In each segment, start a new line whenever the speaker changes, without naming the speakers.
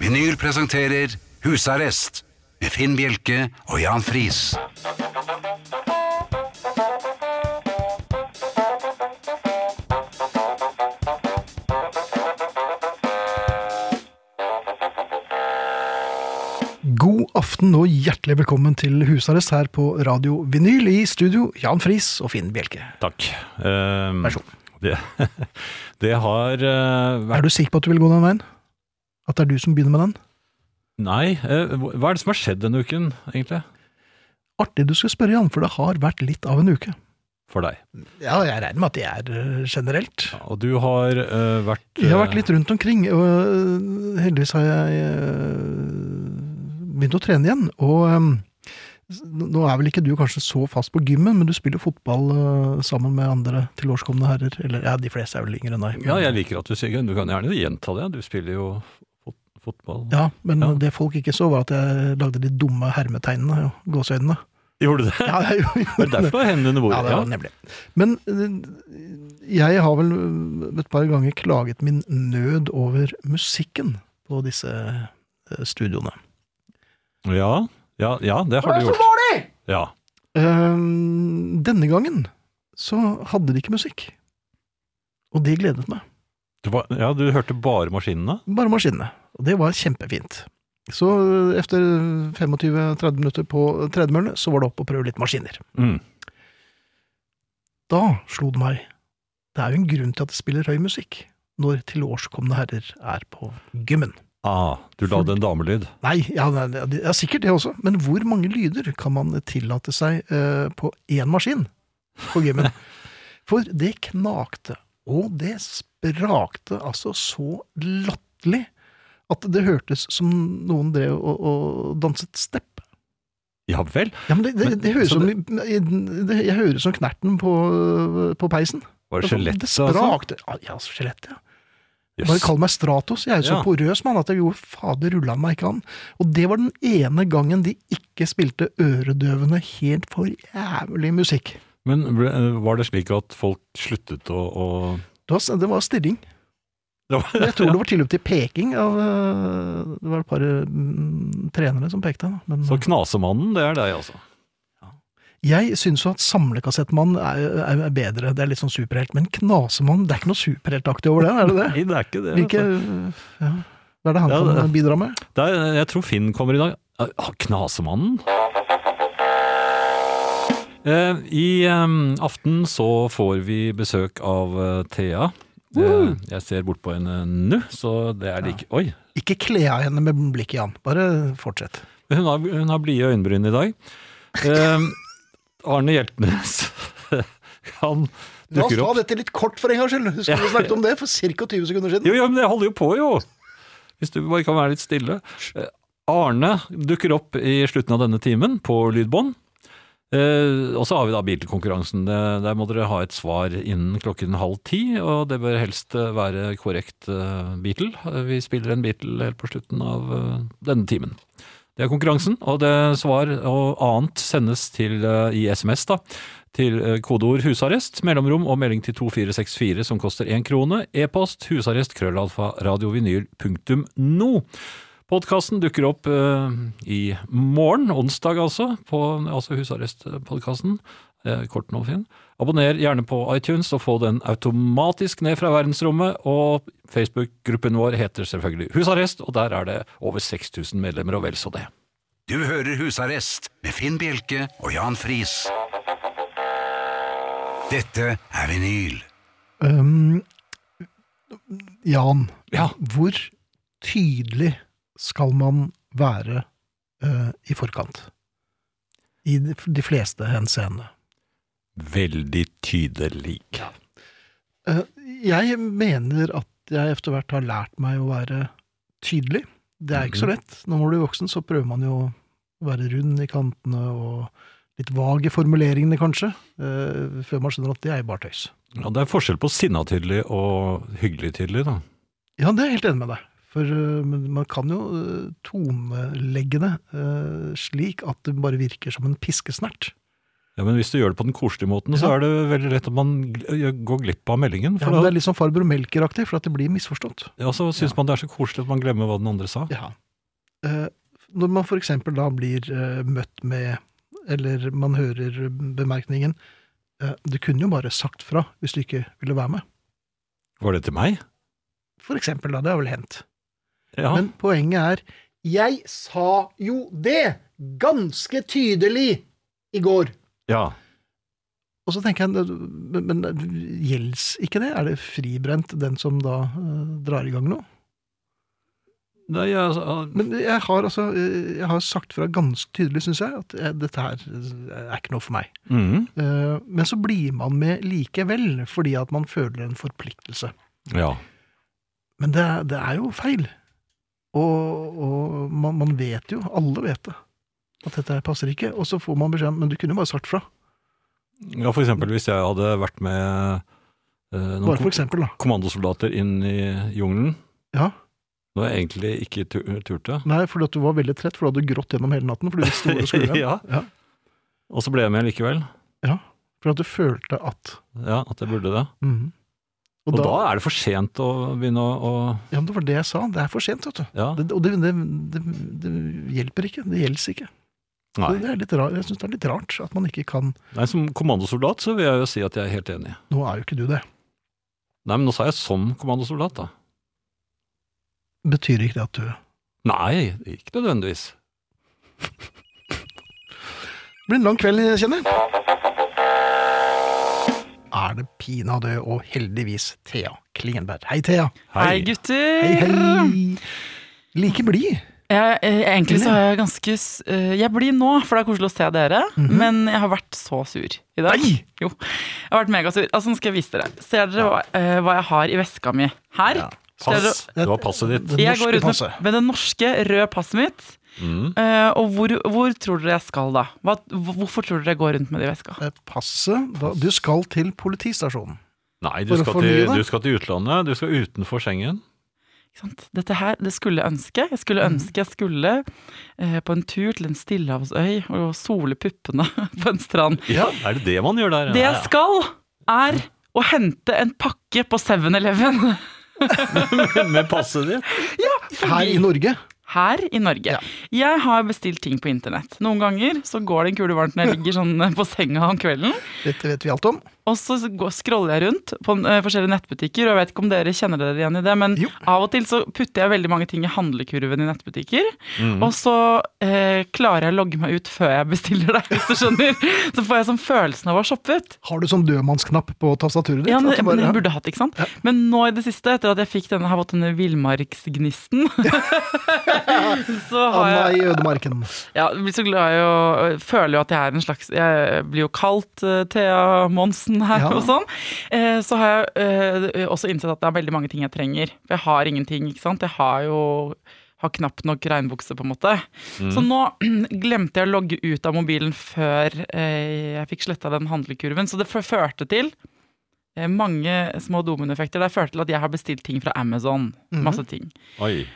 Vinyl presenterer Husarrest med Finn Bjelke og Jan Friis.
God aften og hjertelig velkommen til husarrest her på Radio Vinyl. I studio Jan Friis og Finn Bjelke.
Takk. Um,
Vær så god.
Det, det har eh, vært
Er du sikker på at du vil gå den veien? At det er du som begynner med den?
Nei, eh, hva er det som har skjedd denne uken, egentlig?
Artig du skal spørre, Jan, for det har vært litt av en uke.
For deg.
Ja, jeg regner med at det er øh, generelt.
Og du har eh, vært
Jeg har
eh,
vært litt rundt omkring, og øh, heldigvis har jeg øh, begynt å trene igjen. Og øhm, s- nå er vel ikke du kanskje så fast på gymmen, men du spiller fotball øh, sammen med andre tilårskomne herrer. Eller ja, de fleste er vel yngre enn deg.
Ja, jeg liker at du sier Du kan gjerne gjenta det. Du spiller jo fot fotball.
Ja, men
Ja.
det folk ikke så, var at jeg lagde de dumme hermetegnene og gåseøynene.
Gjorde du det?
Ja, jeg
Det er
gjorde det.
derfor du har hendene
Ja,
bordet.
det var nemlig. Men eh, jeg har vel eh, et par ganger klaget min nød over musikken på disse eh, studioene.
ja. ja, ja, det har du gjort. Ja.
Eh, Denne gangen så hadde de ikke musikk. Og det gledet meg.
Du, var, ja, du hørte bare maskinene?
Bare maskinene. Og det var kjempefint. Så eh, etter 25-30 minutter på tredemøllene, så var det opp å prøve litt maskiner.
Mm.
Da slo det meg. Det er jo en grunn til at det spiller høy musikk når tilårskomne herrer er på gymmen.
Ah, du lagde en damelyd.
Nei, ja, nei, det- det er sikkert det også, men hvor mange lyder kan man tillate seg eh, på én maskin på gymmen? For det knakte, og det sprakte altså så latterlig at det hørtes som noen drev og, og danset stepp.
Ja vel?
Ja, men det, det,
Men-
det høres
så
som, det, jeg hører som knerten på, på peisen.
Var
Det
det skjelettet, altså?
sprakte. Ja, altså, skjelettet, ja. Bare
Jøss.
kall meg Stratos. Jeg er jo så
Ja.
porøs mann at jeg gjorde fader rulla meg ikke an. Og det var den ene gangen de ikke spilte øredøvende, helt for jævlig musikk.
Men ble, eh, var det slik at folk sluttet å, å
Det var, det var stirring.
det var,
Jeg tror det var tilløp til peking av øh, Det var et par mm, trenere som pekte. Da. Men eh,
Så Knasemannen, det er deg, altså.
jeg syns jo at Samlekassettmann er, er er bedre. Det er litt sånn superhelt. Men Knasemann, det er ikke noe superheltaktig over det, er det det?
Nei, det er ikke det. altså.
Hvilke,
vet
ja, hva er det han
Ja,
kan
det-
bidra med?
du. Det er, jeg tror Finn kommer i dag. Ah, Knasemannen? Eh, I eh, aften så får vi besøk av eh, Thea. Det- jeg ser bort på henne nå, så det er like Oi!
Ikke kle av henne med blikket, Jan. Bare fortsett.
Hun har, hun har blide øyenbryn i dag. Eh, Arne Hjeltnes, han
La oss
dukker
ta
opp.
dette litt kort for en gangs skyld. Husker du vi snakket om det for ca. 20 sekunder siden?
Jo, ja, men jeg holder jo på, jo! Hvis du bare kan være litt stille. Eh, Arne dukker opp i slutten av denne timen på lydbånd. Eh, og så har vi da bilkonkurransen. Det- Der må dere ha et svar innen klokken halv ti, og det bør helst eh, være korrekt eh, Beatle. Eh, Vi spiller en Beatle helt på slutten av eh, denne timen. Det er konkurransen, og det svar og annet sendes til, eh, i SMS da, til eh, kodeord husarrest, mellomrom og melding til 2464 som koster én krone, e-post husarrest krøllalfa radiovinyl.no. Podkasten dukker opp eh, i morgen, onsdag altså, på altså husarrestpodkasten. Eh, kort nå, Finn. Abonner gjerne på iTunes og få den automatisk ned fra verdensrommet. Og Facebook-gruppen vår heter selvfølgelig Husarrest, og der er det over 6000 medlemmer og vel så det.
Du hører Husarrest med Finn Bjelke og Jan Friis. Dette er vinyl.
Um, Jan,
Ja,
hvor tydelig skal man være eh, i forkant? I de de fleste henseende.
veldig tydelig.
Eh, jeg mener at jeg etter hvert har lært meg å være tydelig. Det er
Mhm.
ikke så lett. Når man blir voksen, så prøver man jo å være rund i kantene og litt vag i formuleringene, kanskje, eh, før man skjønner at det er bare tøys.
Ja, det er forskjell på sinna tydelig og hyggelig tydelig, da.
Ja, det er jeg helt enig med deg. For øh, men man kan jo øh, tonelegge det øh, slik at det bare virker som en piskesnert.
Ja, men hvis du gjør det på den koselige måten, så
Ja.
er det veldig lett at man gl- går glipp av meldingen.
Ja,
For
men Det
da,
er litt sånn farbror Melker-aktig, for at det blir misforstått.
ja, så syns man det er så koselig at man glemmer hva den andre sa.
Ja. Eh, når man for eksempel da blir eh, møtt med, eller man hører bemerkningen eh, Du kunne jo bare sagt fra hvis du ikke ville være med.
Var det til meg?
For eksempel, da. Det har vel hendt.
Ja.
Men poenget er Jeg sa jo det! Ganske tydelig! I går.
ja.
Og så tenker jeg, men men gjelds ikke det? Er det fribrent, den som da eh, drar i gang noe?
Nei, altså,
Men jeg har altså eh, jeg har sagt fra ganske tydelig, syns jeg, at eh, dette her er ikke noe for meg.
mm,
Eh, Men så blir man med likevel, fordi at man føler en forpliktelse.
ja.
Men det er, det er jo feil. Og, og man, man vet jo, alle vet det, at dette her passer ikke. Og så får man beskjed om Men du kunne jo bare sagt fra.
ja, for eksempel hvis jeg hadde vært med eh, noen
Bare for
kom
eksempel, da.
kommandosoldater inn i jungelen,
Ja.
når jeg egentlig ikke tu turte.
Nei, fordi at du var veldig trett, for da hadde du grått gjennom hele natten. For du visste hvor du skulle hen.
ja.
Ja.
Og så ble jeg med likevel.
For at du følte at
Ja, at jeg burde det.
Mhm.
Og, da, er det for sent å begynne å, å
Ja, men det var det jeg sa. Det er for sent, vet du.
Ja.
Det, og det, det, det, det hjelper ikke. Det gjelder ikke. Så
Nei.
Det er litt rar, jeg syns det er litt rart at man ikke kan
Nei, som kommandosoldat så vil jeg jo si at jeg er helt enig.
Nå er jo ikke du det.
Nei, men nå sa jeg som kommandosoldat, da.
Betyr ikke det at du
Nei, ikke nødvendigvis.
Det blir en lang kveld, kjenner jeg. Er det pinadø og heldigvis Thea Klingenberg. Hei, Thea.
Hei, gutter!
Hei, hei. Like blid.
Jeg, eh, egentlig så er jeg ganske s- eh, Jeg blir nå, for det er koselig å se dere.
Mhm.
Men jeg har vært så sur i dag.
Nei!
Jo, jeg har vært megasur. Altså, nå skal jeg vise dere. Ser dere hva, eh, hva jeg har i veska mi her?
Ja.
Ser dere-
Pass. Det var passet ditt.
Det
jeg går
norske
ut med,
passet. Mhm.
med det norske røde passet mitt.
Mm.
Eh, og hvor, hvor tror dere jeg skal, da? Hva, hvorfor tror dere jeg går rundt med det i veska?
Eh, Passet da, Du skal til politistasjonen.
Nei, du
For å
skal,
fornye
til,
deg?
du skal til utlandet. Du skal utenfor Schengen.
Ikke sant? Dette her, det skulle jeg ønske. Jeg skulle
Mhm.
ønske jeg skulle eh, på en tur til en stillehavsøy og sole puppene på en strand.
Ja, Er det det man gjør der?
Det
Ja,
jeg
ja.
skal, er å hente en pakke på 7-Eleven
Med passet ditt?
Her i Norge.
her i Norge. Jeg har bestilt ting på internett. Noen ganger så går det en kule varmt når jeg ligger sånn eh, på senga om kvelden.
Dette vet vi alt om.
Og så går- scroller jeg rundt på eh, forskjellige nettbutikker, og jeg vet ikke om dere kjenner dere igjen i det, men
Jo.
av og til så putter jeg veldig mange ting i handlekurven i nettbutikker,
Mm.
og så eh, klarer jeg å logge meg ut før jeg bestiller det, hvis du skjønner. Så får jeg sånn følelsen av å ha shoppet.
Har du sånn dødmannsknapp på tastaturet ditt?
Ja, men,
At du
men
bare-
jeg burde hatt, ikke sant? Men nå i det siste, etter at jeg fikk denne, har fått denne villmarksgnisten, så har
Anna
jeg,
i ødemarken.
ja, jeg blir så glad i å føler jo at jeg er en slags Jeg blir jo kalt eh, Thea Monsen her
Ja.
og sånn. Eh, Så har jeg eh, også innsett at det er veldig mange ting jeg trenger. For jeg har ingenting, ikke sant. Jeg har jo har knapt nok regnbukse, på en måte. Så nå glemte jeg å logge ut av mobilen før eh, jeg fikk sletta den handlekurven. Så det f- førte til eh, mange små dominoeffekter. Det førte til at jeg har bestilt ting fra Amazon. Masse ting.
Oi.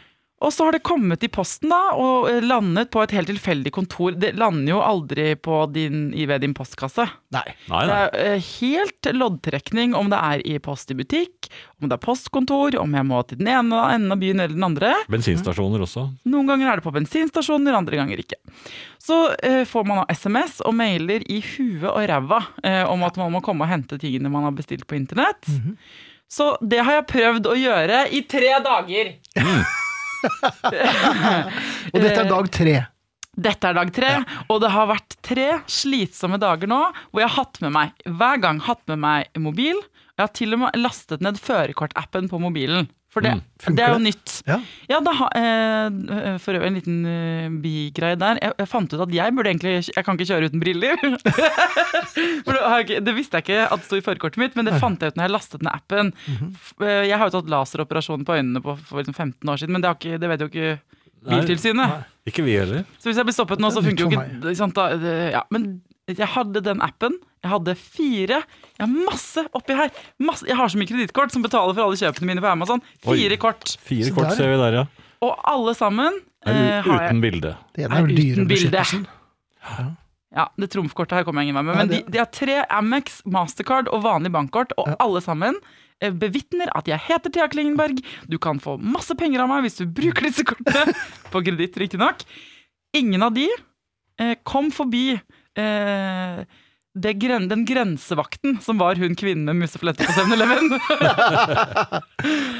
Og så har det kommet i posten da, og eh, landet på et helt tilfeldig kontor. Det lander jo aldri på din, i, ved din postkasse.
Nei.
Nei,
Det
nei.
er eh, helt loddtrekning om det er i post i butikk, om det er postkontor, om jeg må til den ene enden av byen eller den andre.
Bensinstasjoner også.
Noen ganger er det på bensinstasjoner, andre ganger ikke. Så eh, får man da SMS og mailer i huet og ræva eh, om at man må komme og hente tingene man har bestilt på internett.
Mhm.
Så det har jeg prøvd å gjøre i tre dager.
Og dette er dag tre.
Dette er dag tre, og det har vært tre slitsomme dager nå hvor jeg har hatt med meg, hver gang hatt med meg mobil. Jeg har til og med lastet ned førerkortappen på mobilen. For det,
Mm. funker
det er jo
det?
nytt.
Ja.
Ja, da, ha- eh, for øvrig en liten eh, bigreie der. Jeg, jeg fant ut at jeg burde egentlig Jeg kan ikke kjøre uten briller. for det, har jeg ikke, det visste jeg ikke at det sto i førerkortet mitt, men det fant jeg ut når jeg lastet ned appen.
Mhm.
F- eh, Jeg har jo tatt laseroperasjon på øynene på, for liksom 15 år siden, men det, har ikke, det vet jo ikke
Nei.
Biltilsynet.
Ikke vi heller.
Så hvis jeg blir stoppet nå,
Det er
så funker jo
nytt for
ikke ikke sant, da, det- ja, Men jeg hadde den appen. Jeg hadde fire. Jeg har masse oppi her. Masse, jeg har så mye kredittkort som betaler for alle kjøpene mine på Amazon. Fire
Oi.
kort.
Fire
Så
kort
der.
ser vi der, ja.
og alle sammen
Nei,
eh, har jeg
uten bilde.
Det ene
Nei,
er jo
uten bilde.
sånn. dyrebeskyttelsen.
Ja, Det trumfkortet her kommer jeg ingen vei med. Men
Nei,
de,
det-
de har tre Amex, Mastercard og vanlig bankkort, og
Ja.
alle sammen eh, bevitner at jeg heter Thea Klingenberg. Du kan få masse penger av meg hvis du bruker disse kortene. På kreditt, riktignok. Ingen av de eh, kom forbi eh, det gren den grensevakten som var hun kvinnen med musefletter på 7-Eleven.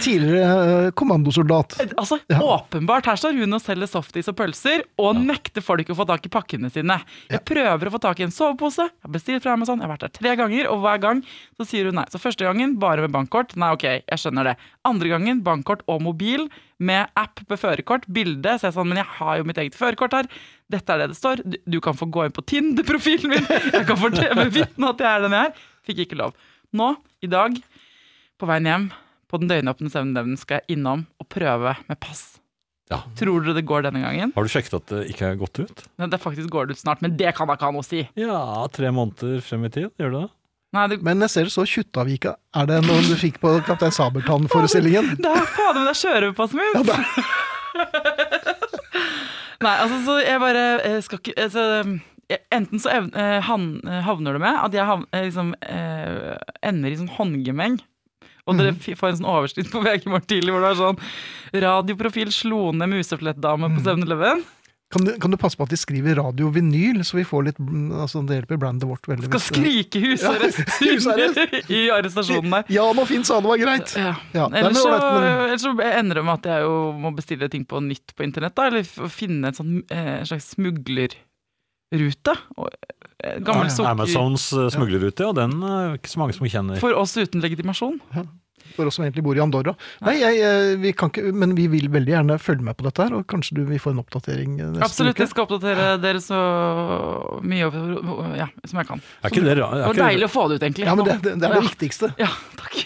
Tidligere eh, kommandosoldat.
altså,
Ja.
Åpenbart, her står hun og selger softis og pølser, og nekter folk å få tak i pakkene sine. Jeg prøver å få tak i en sovepose, jeg har bestilt fra Amazon, jeg har vært der tre ganger, og hver gang så sier hun nei. Så første gangen bare med bankkort, nei ok, jeg skjønner det. Andre gangen bankkort og mobil, med app på førerkort, bilde, så jeg sånn, men jeg har jo mitt eget førerkort her, dette er det det står, du, du kan få gå inn på Tinder-profilen min, jeg kan få bevitne at jeg er den jeg er. Fikk ikke lov. Nå, i dag, på veien hjem, på den døgnåpne 7-Eleven skal jeg innom og prøve med pass.
Ja.
Tror dere det går denne gangen?
Har du sjekket at det ikke er gått ut?
Nei, det faktisk går det ut snart, men det kan da ikke ha noe å si.
Ja, tre måneder frem i tid, gjør det det?
Nei, det,
Men jeg ser det så Kjuttaviga. Er det noe du fikk på Kaptein Sabeltann-forestillingen?
det er fader men det er sjørøverpasset mitt!
Ja, det
Nei, altså, så jeg bare eh, skal ikke altså, eh, Enten så ev- eh, han, eh, havner det med at jeg havn- eh, liksom, eh, ender i sånn håndgemeng. Og
Mhm.
dere f- får en sånn overskrift på VG i morgen tidlig hvor det er sånn 'Radioprofil slo ned museflettdame
Mhm.
på 7-Eleven'.
Kan du, kan du passe på at de skriver radiovinyl, så vi får litt mm, altså Det hjelper brandet vårt veldig.
Skal
hvis-
skrike husarrest
husarrest.
i arrestasjonen der.
Ja, nå fins han, det var greit!
sånn, Ja.
Ja, den er
Ellers, så,
ålreit, men-
ellers så ender det med at jeg jo må bestille ting på nytt på internett, da, eller f- finne en sånn, eh, en slags smuglerrute. Og, eh, gammel sukker
Amazons eh, smuglerrute, og den er ikke så mange som kjenner.
for oss uten legitimasjon.
For oss som egentlig bor i Andorra. Nei, jeg, eh, vi kan ikke, men vi vil veldig gjerne følge med på dette her, og kanskje du vil få en oppdatering eh, neste
Absolutt, jeg
uke?
skal oppdatere dere så mye over, ja, som jeg kan.
Er ikke det ra-
Det
er
var
ikke
deilig å få det ut, egentlig.
Ja, men det, det, det er det
Ja.
viktigste.
Ja, takk.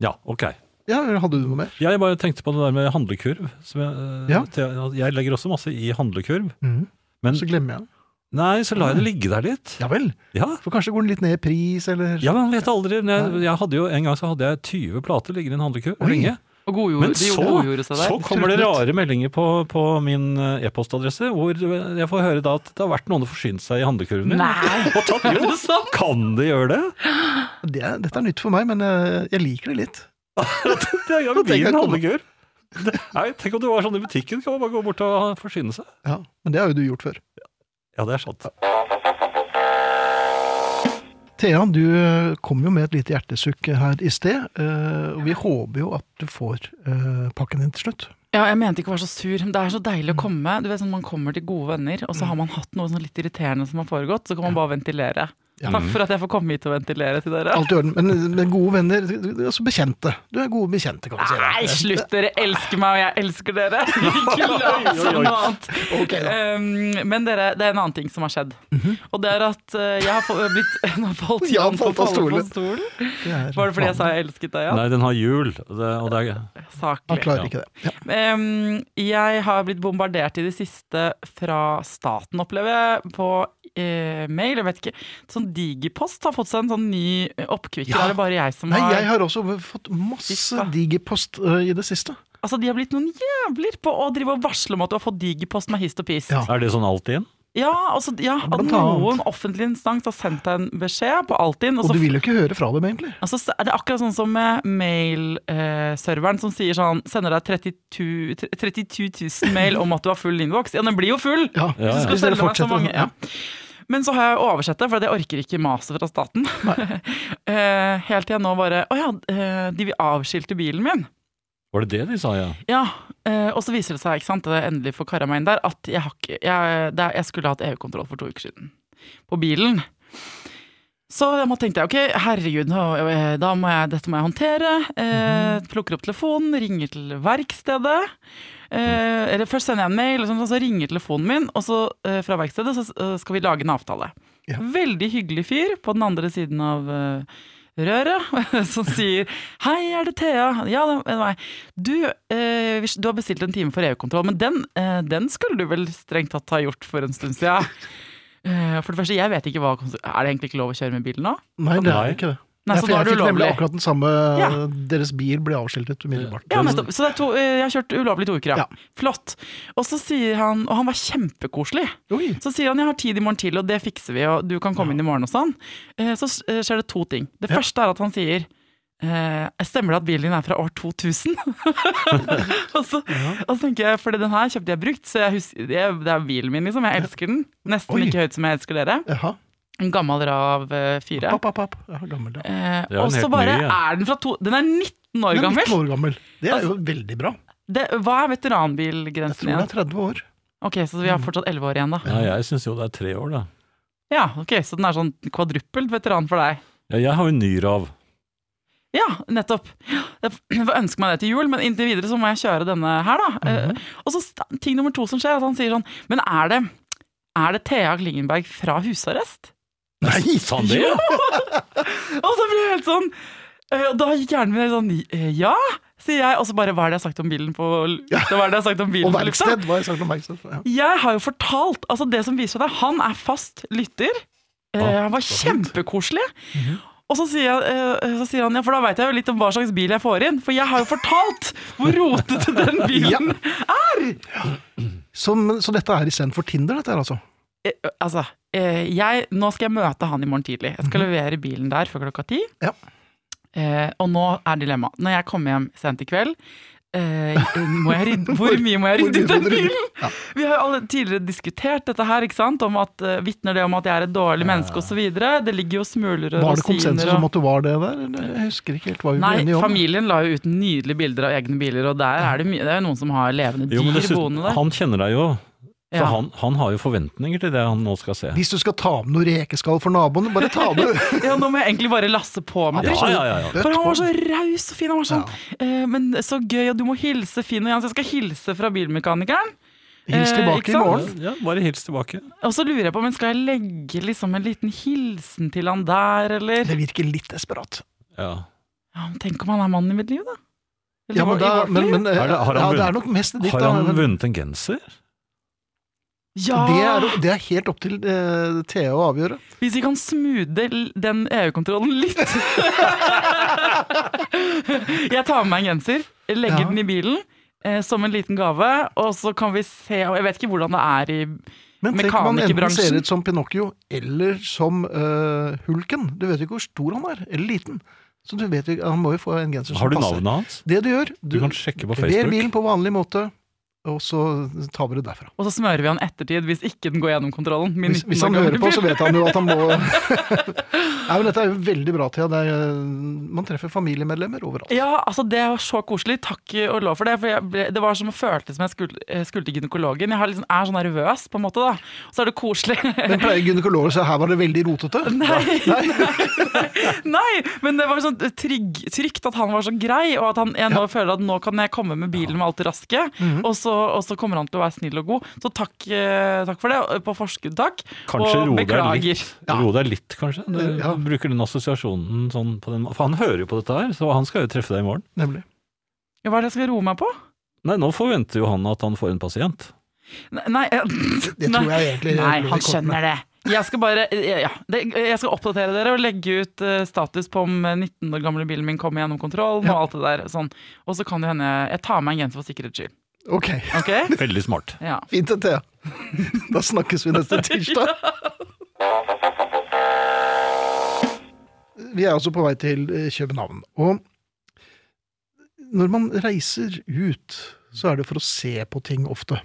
Ja, ok.
Ja, Hadde du noe mer?
Jeg bare tenkte på det der med handlekurv. Som jeg, eh,
Ja.
til- jeg legger også masse i handlekurv.
Mhm.
Men
Så glemmer jeg den.
nei, så lar jeg det ligge der litt.
Ja vel.
Ja,
For kanskje går den litt ned i pris, eller
ja man vet aldri. Men Jeg, jeg hadde jo, en gang så hadde jeg 20 plater liggende i en handlekurv.
Oi.
Lenge.
Og godgjorde,
Men
de
så,
godgjorde seg der.
så kommer det rare meldinger på, på min eh, e-postadresse, hvor jeg får høre da at det har vært noen som forsynt seg i handlekurven min.
Nei,
Og tatt,
er
jo,
det sant?
kan de gjøre det?
det, er- Dette er nytt for meg, men eh, jeg liker det litt.
Det er jo
Da tenker jeg
min
komme-
handlekurv. Det- Nei, tenk om det var sånn i butikken, kan man bare gå bort og forsyne seg.
Ja, Men det har jo du gjort før.
Ja, det er sant.
Thea, du eh, kom jo med et lite hjertesukk her i sted. eh, og Vi håper jo at du får eh, pakken din til slutt.
Ja, jeg mente ikke å være så sur, men det er så deilig å komme. Du vet sånn, Man kommer til gode venner, og så har man hatt noe sånn litt irriterende som har foregått, så kan man bare ventilere.
Ja.
Takk for at jeg får komme hit og ventilere til dere.
Alt i orden. Men, men gode venner, du- du- altså bekjente. Du er gode bekjente, kan du si.
Nei, slutt! Dere elsker meg, og jeg elsker dere! Ikke lat
Oi,
som
oi, oi.
noe annet.
Ok, da.
Um, men dere, det er en annen ting som har skjedd. Og det er at eh, jeg har få- blitt Nå falt
Mhm. Ja,
Jan
falt
på
av
falle på
stolen.
stolen.
Det er
Var det fordi jeg
vanlig.
sa jeg elsket deg, Jan?
Nei, den har hjul, og det, og det er
Han
Saklig.
klarer ikke det. Ja.
Em, jeg har blitt bombardert i det siste fra staten, opplever jeg, på eh, mail. Jeg vet ikke. Sånn Digipost har fått seg en sånn ny oppkvikker.
Ja.
Er det bare jeg som
Nei,
har
jeg har også fått masse
Fifa.
digipost eh, i det siste.
Altså, De har blitt noen jævler på å drive og varsle om at du har fått Digipost med hist og pist.
Ja.
Er det sånn alltid?
Ja, altså, ja, at
Blant
noen
annet.
offentlig instans har sendt deg en beskjed på Altinn.
Og
så
du vil jo ikke høre fra dem, egentlig.
Altså, så er det akkurat sånn som med mail-serveren som sier sånn, sender deg 32 32 000 mail om at du har full innboks. Ja, den blir jo full!
Ja,
Ja, ja.
Hvis du
Hvis dere
skal selge meg så
fortsetter
mange.
sånn, ja.
Ja. Men så har jeg oversett det, for jeg orker ikke maset fra staten. Eh, Helt til jeg nå bare Å ja, eh, de avskilte bilen min.
Var det det de sa, ja?
Ja, eh, Og så viser det seg, ikke sant, det er endelig for kara meg inn der, at jeg, har ikke, jeg, det er, jeg skulle hatt EU-kontroll for to uker siden på bilen. Så da må- tenkte jeg ok, herregud, nå, eh, da må jeg, dette må jeg håndtere. Eh, plukker opp telefonen, ringer til verkstedet. Eh, eller først sender jeg en mail, og sånn, og så ringer telefonen min, og så eh, fra verkstedet så eh, skal vi lage en avtale.
Ja.
Veldig hyggelig fyr på den andre siden av eh, røret, som sier Hei, er det Thea? Ja, det er meg. Du, eh, hvis- du har bestilt en time for EU-kontroll, men den, eh, den skulle du vel strengt tatt ha gjort for en stund siden? Eh, For det første, jeg vet ikke hva konse- Er det egentlig ikke lov å kjøre med bil nå?
Nei, det
Nei.
er ikke det.
Nei,
Ja,
så
for
da
jeg
er det
fikk nemlig
ulovlig.
akkurat den samme eh,
Ja.
Deres bil ble avskiltet umiddelbart.
Ja, nettopp. Så det er to, eh, jeg har kjørt ulovlig to uker, ja.
Ja.
Flott. Og så sier han, og han var kjempekoselig,
Oi.
så sier han jeg har tid i morgen til, og det fikser vi, og du kan komme inn i morgen og sånn. Eh, Så s- eh, skjer det to ting. Det
Ja.
første er at han sier eh, stemmer det at bilen din er fra år 2000? og, så, og så tenker jeg, for den her kjøpte jeg brukt, så jeg husker, det, er, det er bilen min, liksom. Jeg elsker den. Nesten
Oi.
like høyt som jeg elsker dere.
Jaha.
En gammel Rav 4.
Papp, papp, papp. Ja, gammel, ja.
Eh,
Det er jo en
og så
helt
bare
ny, ja.
er den fra to... Den er 19 år
Den er
gammel!
19
Altså,
år gammel. Det er jo veldig bra.
Det, hva er
Jeg tror
veteranbilgrensen
det Mm.
igjen?
er 30 år.
Ok, Så vi har fortsatt 11 år igjen, da.
Nei, jeg syns jo det er tre år, da.
Ja, ok, Så den er sånn kvadruppelt veteran for deg?
Ja, jeg har jo ny rav.
Ja, nettopp. Jeg får ønske meg det til jul, men inntil videre så må jeg kjøre denne her, da. Eh,
Mhm.
Og så st- ting nummer to som skjer, at han sier sånn Men er det, er det Thea Klingenberg fra husarrest?
Nei,
Sa han det? ja?
Og så blir jeg helt sånn eh, Og da gikk hjernen min helt sånn eh, Ja, sier jeg. Og så bare Hva er det jeg har sagt om bilen på l-
Ja.
Hva er det jeg har sagt om bilen
Og
på lufta?
verksted, hva har jeg sagt om verksted? Ja.
Jeg har jo fortalt, altså det som viser deg, han er fast lytter. Eh,
Ah,
han var kjempekoselig. Og så sier, jeg, eh, så sier han, ja, for da veit jeg jo litt om hva slags bil jeg får inn. For jeg har jo fortalt hvor rotete den bilen
Som, så dette er istedenfor Tinder, dette her altså?
Eh, Altså, eh, jeg, nå skal jeg møte han i morgen tidlig. Jeg skal levere bilen der før klokka ti.
Mhm. Ja.
Eh, og nå er dilemmaet. Når jeg kommer hjem sent i kveld, eh, må jeg rydde, hvor mye må jeg
Hvor
rydde
mye
ut
må
den
du rydde?
bilen?
Ja.
Vi har jo alle tidligere diskutert dette her, ikke sant? Om at, eh, vitner det om at jeg er et dårlig menneske osv. Det ligger jo smuler og
Var det konsensus
og-
om at du var det der? Eller? Jeg husker ikke helt hva vi ble
Nei,
enige om.
familien la jo ut nydelige bilder av egne biler, og der er det, mye, det er jo noen som har levende dyr
Jo, men
boende
dessuten,
der.
han kjenner deg jo. Så
Ja.
han, han har jo forventninger til det han nå skal se.
Hvis du skal ta med noe rekeskall for naboene, bare ta med
ja, nå må jeg egentlig bare lasse på meg
Ja,
det.
ja, ja, ja.
Dødt
For han
hår.
var så raus og fin. Han var sånn eh, Men så gøy, og du må hilse Finn og Jens. Jeg skal hilse fra bilmekanikeren.
Hils
Eh, ikke
tilbake i
sant?
morgen.
Ja, bare hils tilbake.
Og så lurer jeg på, men skal jeg legge liksom en liten hilsen til han der, eller?
Det virker litt desperat.
Ja.
Ja, men tenk om han er mannen i mitt liv, da. Eller
Ja,
i
men
vår-
da,
i vårt
men,
liv.
men, eh,
Er det- har han
ja, det
vunnet?
er nok mest ditt.
Har
da,
han
men-
vunnet en genser?
ja!
Det er, det er helt opp til eh, Thea å avgjøre.
Hvis vi kan smoothe l- den EU-kontrollen litt Jeg tar med meg en genser, legger
Ja.
den i bilen eh, som en liten gave, og så kan vi se og Jeg vet ikke hvordan det er i
Men tenk om han enten
Mekanikerbransjen.
ser ut som Pinocchio eller som eh, Hulken. Du vet jo ikke hvor stor han er, eller liten. Så du vet jo, Han må jo få en genser
Har du
som passer.
navnet hans?
Det du gjør,
Du kan sjekke på
lever
Facebook.
bilen på vanlig måte, og så tar vi det derfra.
Og så smører vi han ettertid hvis ikke den går gjennom kontrollen. Min
Hvis, hvis
19 år
han
gamle
hører på, så
bil.
vet han jo at han må Nei, men Dette er jo veldig bra, Thea. Det er, eh, man treffer familiemedlemmer overalt.
Ja, altså det var så koselig. Takk og lov for det. For jeg ble, det var som å følte som jeg skulle, eh, skulle til gynekologen. Jeg har liksom, er sånn nervøs, på en måte, da. Så er det koselig.
Men pleier gynekologer å si her var det veldig rotete?
Nei, nei, men det var sånn trygg, trygt at han var så grei, og at han, jeg nå føler at nå kan jeg komme med bilen med alt det raske,
Mhm.
og, så, og så kommer han til å være snill og god. Så takk, eh, takk for det, og på forskudd takk,
Kanskje
og
roe deg
beklager.
litt, ro deg litt, kanskje? Du
Ja.
bruker den assosiasjonen sånn på den For han hører jo på dette her, så han skal jo treffe deg i morgen.
Nemlig.
Hva er det jeg skal roe meg på?
Nei, nå forventer jo han at han får en pasient.
Nei, nei, eh,
Det tror jeg egentlig
Nei,
lå i
han
kortene.
skjønner det. Jeg skal bare, eh, ja, det, jeg skal oppdatere dere og legge ut eh, status på om eh, 19 år gamle bilen min kommer gjennom kontrollen og alt det der. Sånn. Og så kan det hende Jeg tar meg en genser for sikkerhets skyld.
Ok,
Ok?
Veldig smart.
Ja.
fint det, Thea. Da snakkes vi neste tirsdag. Vi er altså på vei til eh, København. Og når man reiser ut, så er det for å se på ting ofte.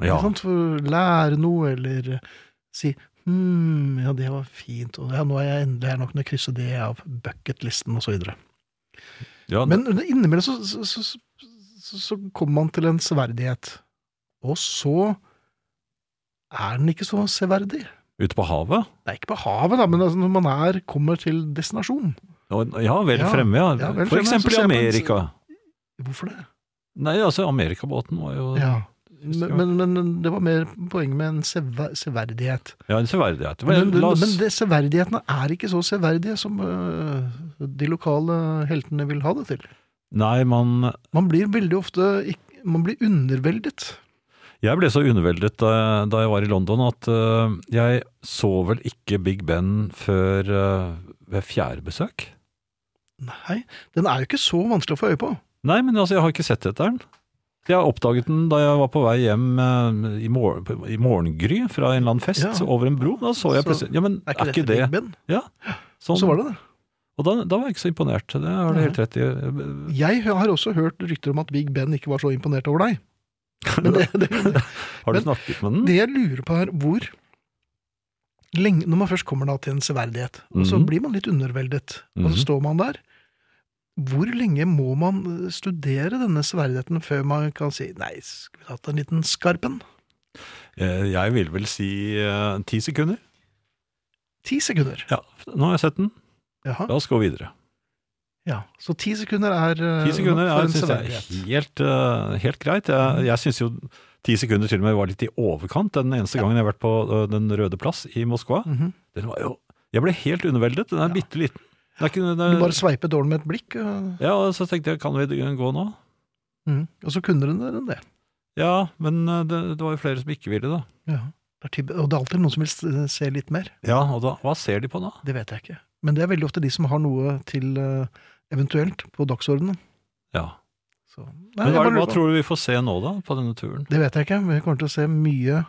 Ja.
Ikke sant? For å lære noe, eller eh, si hm, ja, det var fint, og ja, nå er jeg endelig her, nå kan jeg krysse det av bucketlisten, og så videre.
ja
Men innimellom så, så, så, så, så kommer man til en severdighet. Og så er den ikke så severdig.
Ute på havet?
Det er ikke på havet, da, men altså når man er, kommer til destinasjon.
Og- Ja, vel
Ja.
fremme, ja.
Ja, vel
For
fremme, så
eksempel i
ser man-
Amerika.
Hvorfor det?
Nei, altså, Amerikabåten var jo
Ja. Men, men, men det var mer poenget med en sever, severdighet.
Ja, en severdighet.
Men,
Vel,
men,
la oss
men det, severdighetene er ikke så severdige som øh, de lokale heltene vil ha det til.
Nei, man
Man blir veldig ofte ikk- man blir underveldet.
Jeg ble så underveldet da, da jeg var i London at eh, øh, jeg så vel ikke Big Ben før øh, ved eh, fjerde besøk.
Nei, den er jo ikke så vanskelig å få øye på.
Nei, men altså, jeg har ikke sett etter den. Jeg oppdaget den da jeg var på vei hjem eh, i, mor i morgengry fra en eller annen fest
Ja.
over en bro. Da så jeg
Så
plutselig Ja, men
Er ikke, dette
det
Big Ben?
sånn?
Så var det det.
Og da, da var jeg ikke så imponert. Det har du helt rett i.
Jeg har også hørt rykter om at Big Ben ikke var så imponert over deg. Men det, det,
Har du
Men
snakket med den?
det jeg lurer på her, hvor lenge, Når man først kommer da til en severdighet, og så
Mhm.
blir man litt underveldet, og
Mhm.
så står man der. Hvor lenge må man eh, studere denne severdigheten før man kan si nei, skulle vi hatt en liten skarpen?
Eh, Jeg vil vel si eh, ti sekunder.
Ti sekunder.
Ja, nå har jeg sett den.
Jaha.
La oss gå videre.
Ja, så ti sekunder er eh,
Ti sekunder
for
jeg
en
synes jeg
severdighet.
er helt, eh, helt greit.
Mm.
Jeg, jeg syns jo ti sekunder til og med var litt i overkant. Den eneste gangen jeg har vært på eh, Den røde plass i Moskva.
Mhm.
Den var jo Jeg ble helt underveldet. Den er
Ja.
bitte liten. Det er ikke, den
Du
er,
bare sveipet dårlig med et blikk, og,
ja, og så tenkte jeg, kan vi gå nå?
mhm, og så kunne den den det.
Ja, men eh, det, det var jo flere som ikke ville, da.
Ja. Det er typ- og det er alltid noen som vil s- eh, se litt mer.
Ja, og da, hva ser de på da?
Det vet jeg ikke. Men det er veldig ofte de som har noe til eh, eventuelt på dagsordenen.
Ja.
Så, nei,
Men
jeg
hva,
bare lurer
hva
på.
tror du vi får se nå, da, på denne turen?
Det vet jeg ikke, men vi kommer til å se mye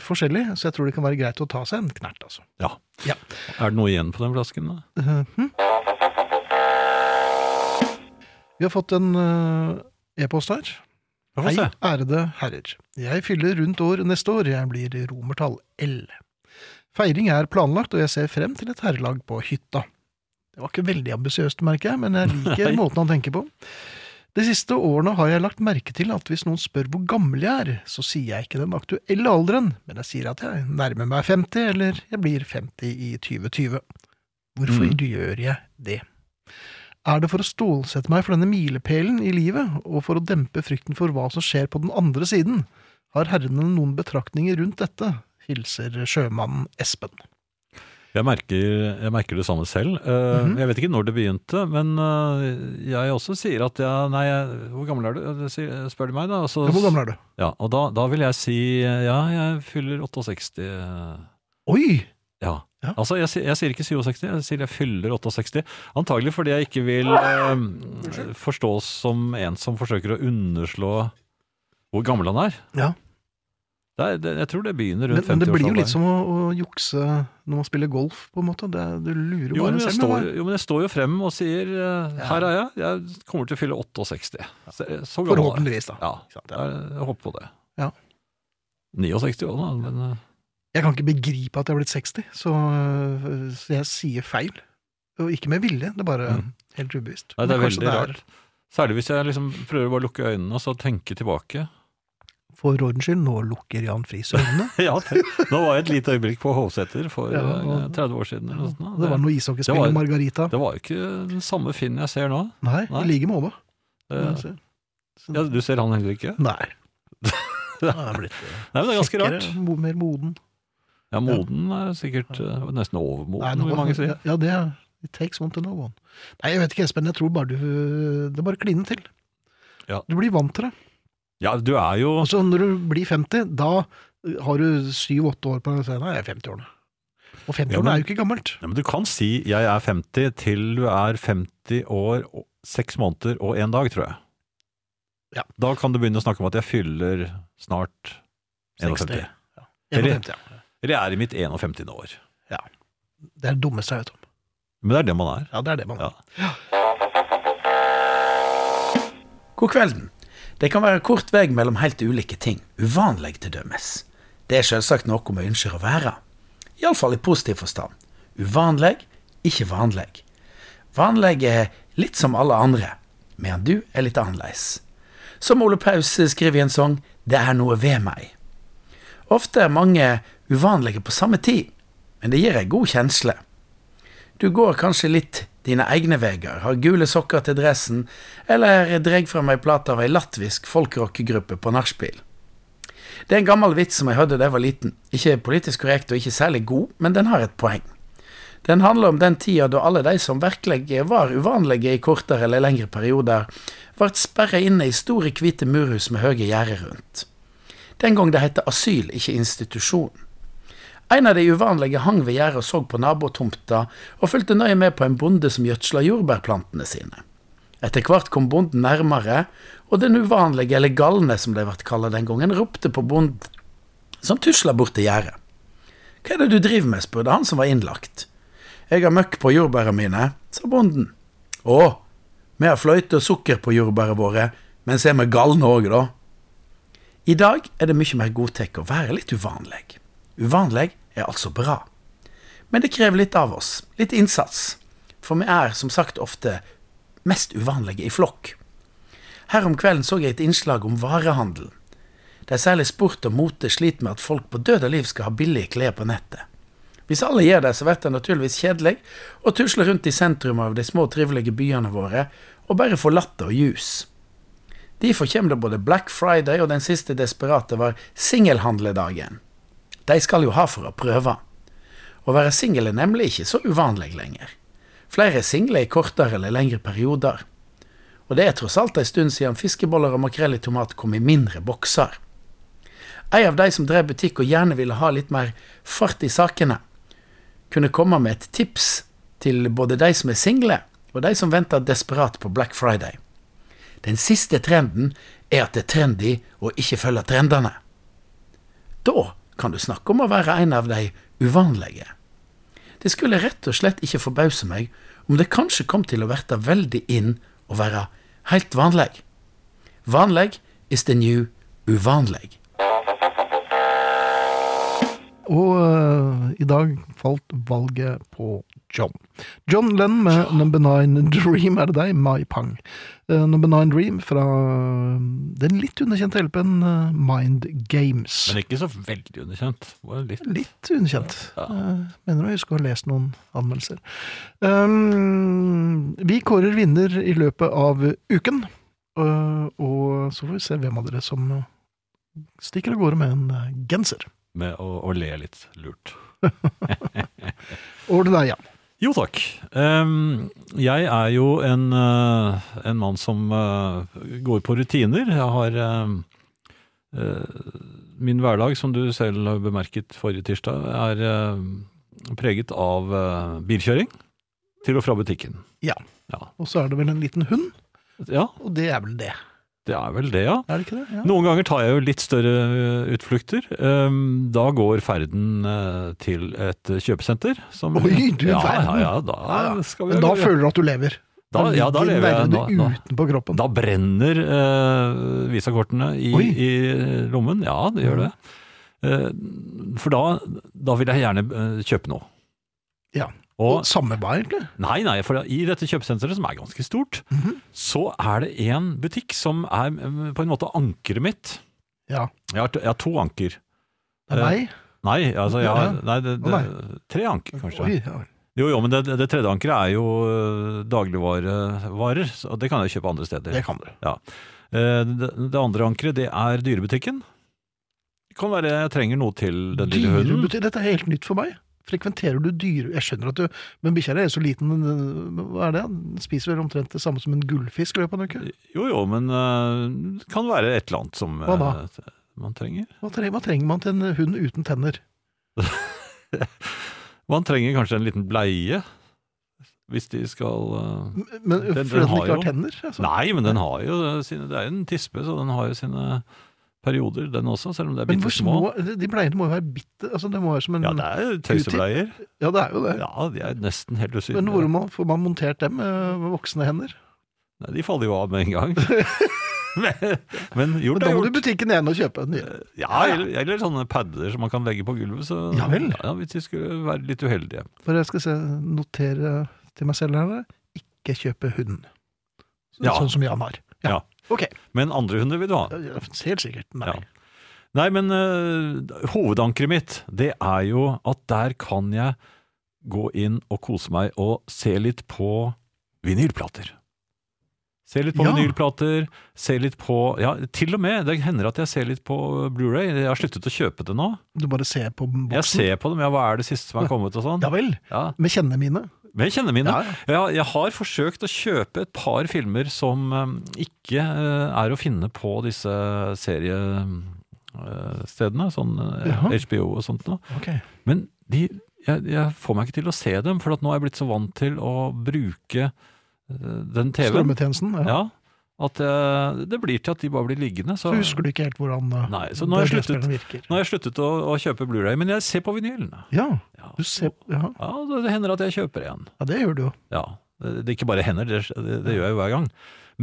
forskjellig, så jeg tror det kan være greit å ta seg en knert, altså.
Er det noe igjen på den flasken? da?
Eh, hm? Vi har fått en eh, e-post her.
Vi får
Hei,
se.
ærede herrer. Jeg fyller rundt år neste år, jeg blir romertall L. Feiring er planlagt, og jeg ser frem til et herrelag på hytta. Det var ikke veldig ambisiøst, merker jeg, men jeg liker måten han tenker på. De siste årene har jeg lagt merke til at hvis noen spør hvor gammel jeg er, så sier jeg ikke den aktuelle alderen, men jeg sier at jeg nærmer meg 50, eller jeg blir 50 i 2020. Hvorfor
Mm.
gjør jeg det? Er det for å stålsette meg for denne milepælen i livet, og for å dempe frykten for hva som skjer på den andre siden? Har herrene noen betraktninger rundt dette? Hilser sjømannen Espen.
Jeg merker, jeg merker det samme selv. Eh,
Mhm.
Jeg vet ikke når det begynte, men eh, jeg også sier at jeg Nei, jeg, hvor gammel er du? Det sier- Spør de meg, da. og så-
Ja, hvor gammel er du?
Ja, og da, da vil jeg si eh, ja, jeg fyller 68. eh,
Oi!
Ja.
Ja.
Altså, jeg, sier- jeg sier ikke 67, jeg sier jeg fyller 68. Antagelig fordi jeg ikke vil eh, forstås som en som forsøker å underslå hvor gammel han er.
Ja.
Det er det, jeg tror det begynner
Men,
rundt 50-årsalderen.
men det blir jo litt som å, å jukse når man spiller golf, på en måte. Det, er- du lurer
Jo men,
bare
jeg
selv.
står,
men det-
jo, men jeg står jo frem og sier eh, her er jeg, jeg kommer til å fylle 68. Så, så gammel er jeg.
Forhåpentligvis, da.
Ja,
sant,
jeg- jeg håper på det.
Ja.
69 år, da. Men, eh,
Jeg kan ikke begripe at jeg er blitt 60, så, øh, så jeg sier feil. Og ikke med vilje, det er bare
Mm.
helt ubevisst.
nei, det er
Men kanskje
veldig rart. Særlig hvis jeg liksom prøver bare å lukke øynene og så tenke tilbake.
For ordens skyld, nå lukker Jan Friis øynene.
ja, det- Nå var jeg et lite øyeblikk på Hovseter for
Ja,
eh,
og-
30 år siden. Eller noe sånt, da.
Det var noe
det
ishockeyspill
var-
i Margarita.
det var jo ikke den samme Finn jeg ser nå.
Nei,
Nei.
i like måte.
Eh, ja, du ser han heller ikke?
Nei.
Nei,
Han er blitt
Nei, men Det er ganske rart.
kjekkere, mo- mer moden.
Ja, Moden er sikkert eh, nesten overmoden,
nå-
vil mange si.
Ja, det er It takes one to know one. Nei, jeg vet ikke, Espen. Jeg tror bare du Det er bare klinen til.
Ja.
Du blir vant til det.
Ja, du er jo
Altså, når du blir 50, da har du syv-åtte år på deg. Nei, jeg er 50-årene. Og 50-årene
Ja, men-
er jo ikke gammelt.
Ja, men du kan si 'jeg er 50' til du er 50 år, og- seks måneder og én dag, tror jeg.
Ja.
Da kan du begynne å snakke om at jeg fyller snart
60.
51.
Ja. 51, ja.
Eller jeg er i mitt 51. år.
Det er det dummeste jeg vet om.
Men det er det man er.
Ja, det er det man
Ja.
God kvelden. Det kan være kort vei mellom helt ulike ting, uvanlig til dømes. Det er selvsagt noe vi ønsker å være. Iallfall i positiv forstand. Uvanlig, ikke vanlig. Vanlig er litt som alle andre, medan du er litt annerledes. Som Ole Paus skriver i en sang, det er noe ved meg. Ofte er mange uvanlige på samme tid, men det gir ei god kjensle. Du går kanskje litt dine egne veier, har gule sokker til dressen, eller dreg fram ei plate av ei latvisk folkrockegruppe på nachspiel. Det er en gammel vits som jeg hørte da jeg var liten, ikke politisk korrekt og ikke særlig god, men den har et poeng. Den handler om den tida da alle de som virkelig var uvanlige i kortere eller lengre perioder, ble sperra inne i store, hvite murhus med høye gjerder rundt. Den gang det het asyl, ikke institusjon. En av de uvanlige hang ved gjerdet og så på nabotomta, og fulgte nøye med på en bonde som gjødsla jordbærplantene sine. Etter hvert kom bonden nærmere, og den uvanlige, eller galne som de ble kalt den gangen, ropte på bonden, som tusla bort til gjerdet. Hva er det du driver med, spurte han som var innlagt. Jeg har møkk på jordbæra mine, sa bonden. Å, vi har fløyte og sukker på jordbæra våre, men så er vi galne òg, da. I dag er det mye mer godtatt å være litt uvanlig. Uvanlig er altså bra. Men det krever litt av oss, litt innsats. For vi er som sagt ofte mest uvanlige i flokk. Her om kvelden så jeg et innslag om varehandel. Det er særlig sport og mote sliter med at folk på død og liv skal ha billige klær på nettet. Hvis alle gjør det, så blir det naturligvis kjedelig å tusle rundt i sentrum av de små, trivelige byene våre og bare få latter og jus. Derfor kommer det både Black Friday og den siste desperate var singelhandledagen. De skal jo ha for å prøve. Å være singel er nemlig ikke så uvanlig lenger. Flere er single i kortere eller lengre perioder. Og det er tross alt en stund siden fiskeboller og makrell i tomat kom i mindre bokser. En av de som drev butikk og gjerne ville ha litt mer fart i sakene, kunne komme med et tips til både de som er single, og de som venter desperat på Black Friday. Den siste trenden er at det er trendy å ikke følge trendene. Da kan du snakke om å være en av de uvanlige. Det skulle rett og slett ikke forbause meg om det kanskje kom til å verte veldig inn å være helt vanlig. Vanlig is the new uvanlig.
Og eh, i dag falt valget på John. John Lennon med Number Nine Dream, er det deg? Mai Pang. Eh, Number Nine Dream fra eh, den litt underkjente LP-en eh, Mind Games.
Men ikke så veldig underkjent. Det var litt
Litt underkjent. Eh, Mener å huske å ha lest noen anmeldelser. Um, vi kårer vinner i løpet av uken. eh, og så får vi se hvem av dere som eh, stikker av gårde med en eh, genser.
med å, å le litt lurt.
Over til deg, Jan.
Jo takk. Ehm, jeg er jo en, eh, en mann som eh, går på rutiner. Jeg har ehm, eh, Min hverdag, som du selv har bemerket forrige tirsdag, er eh, preget av eh, bilkjøring til og fra butikken.
Ja.
Ja.
Og så er det vel en liten hund,
ja,
og det er vel det.
det er vel det, ja.
Er det ikke det? Ja.
Noen ganger tar jeg jo litt større ø, utflukter. Ehm, Da går ferden ø, til et kjøpesenter. Som,
Oi, du
ja,
verden.
Ja, ja, da
Ja, ja.
skal vi
Men da føler du at du lever.
Da- ja, da lever jeg.
Da
Da-
ligger
da-
nervene utenpå kroppen.
Da brenner eh, visakortene i,
Oi.
i lommen. Ja, det gjør det. Eh, for da, da vil jeg gjerne eh, kjøpe noe.
Ja.
Og,
Samme hva, egentlig.
nei, nei, for i dette kjøpesenteret, som er ganske stort,
Mhm.
så er det en butikk som er eh, på en måte ankeret mitt.
Ja.
Jeg har, t- jeg har to anker.
Det er
Eh,
meg.
Nei, altså jeg
Ja, ja.
har nei, det,
Å,
det, tre anker, kanskje.
Oi, ja.
Jo, jo, men det, det tredje ankeret er jo eh, dagligvarevarer, så det kan jeg kjøpe andre steder.
Det kan du.
Eh, Det, det andre ankeret, det er dyrebutikken. Det kan være jeg trenger noe til den lille hunden.
Dyrebutikk, dette er helt nytt for meg. Frekventerer du dyre... Jeg skjønner at du Men bikkja di er jo så liten, den, øh, hva er det? Den spiser vel omtrent det samme som en gullfisk i løpet av en uke?
Jo, jo, men eh, det kan være et eller annet som eh,
Hva da?
man trenger.
Hva trenger, hva trenger man til en hund uten tenner?
Man trenger kanskje en liten bleie, hvis de skal eh,
Men, men
Den- den
fordi den
har
ikke har
jo-
tenner? Altså.
Nei, men den har jo sine Det er jo en tispe, så den har jo sine perioder, den også, selv om det er
Men
bitte
hvor
små.
små De bleiene må jo være bitte altså Det må være som en
Ja, det er jo tøysebleier.
Ja, det er jo det.
Ja, de er nesten helt usynlige.
Men hvor man, får man montert dem eh, med voksne hender?
Nei, de faller jo av med en gang. men, men
Men
gjort
da
er
må du i
gjort.
butikken igjen og kjøpe nye.
Eh, Ja, eller, eller sånne padder som man kan legge på gulvet. Så,
Ja vel.
Ja, hvis de skulle være litt uheldige.
For jeg skal se, notere til meg selv her ikke kjøpe hund. Så-
Ja.
Sånn som Jan har.
Ja.
Ok,
Men andre hunder vil du ha.
Ja, ja, helt sikkert. Nei.
Ja. Nei, men øh, hovedankeret mitt, det er jo at der kan jeg gå inn og kose meg og se litt på vinylplater. Se litt på
Ja.
vinylplater, se litt på Ja, til og med, det hender at jeg ser litt på Blu-ray. Jeg har sluttet å kjøpe det nå.
Du bare ser på boksen.
Jeg ser på dem, ja, hva er det siste som er kommet og sånn.
Ja vel,
Ja.
med kjennene mine.
Men jeg kjenner mine.
Ja, ja.
Ja, jeg har forsøkt å kjøpe et par filmer som eh, ikke eh, er å finne på disse serie... eh, stedene, sånn eh,
Jaha.
HBO og sånt noe.
Ok.
Men de, jeg, jeg får meg ikke til å se dem, for at nå er jeg blitt så vant til å bruke eh, den TV-en.
Strømmetjenesten. Ja.
Ja, at eh, det blir til at de bare blir liggende. Så,
Så husker du ikke helt hvordan eh,
Nei, så nå har jeg
DVD-spilleren
Nå
virker.
har jeg sluttet å, å kjøpe Blu-ray, men jeg ser på vinylen.
Ja,
Ja,
du ser, ja.
ja, det det hender at jeg kjøper en.
ja, det gjør du jo.
Ja, det, det ikke bare hender, det, det, det gjør jeg hver gang.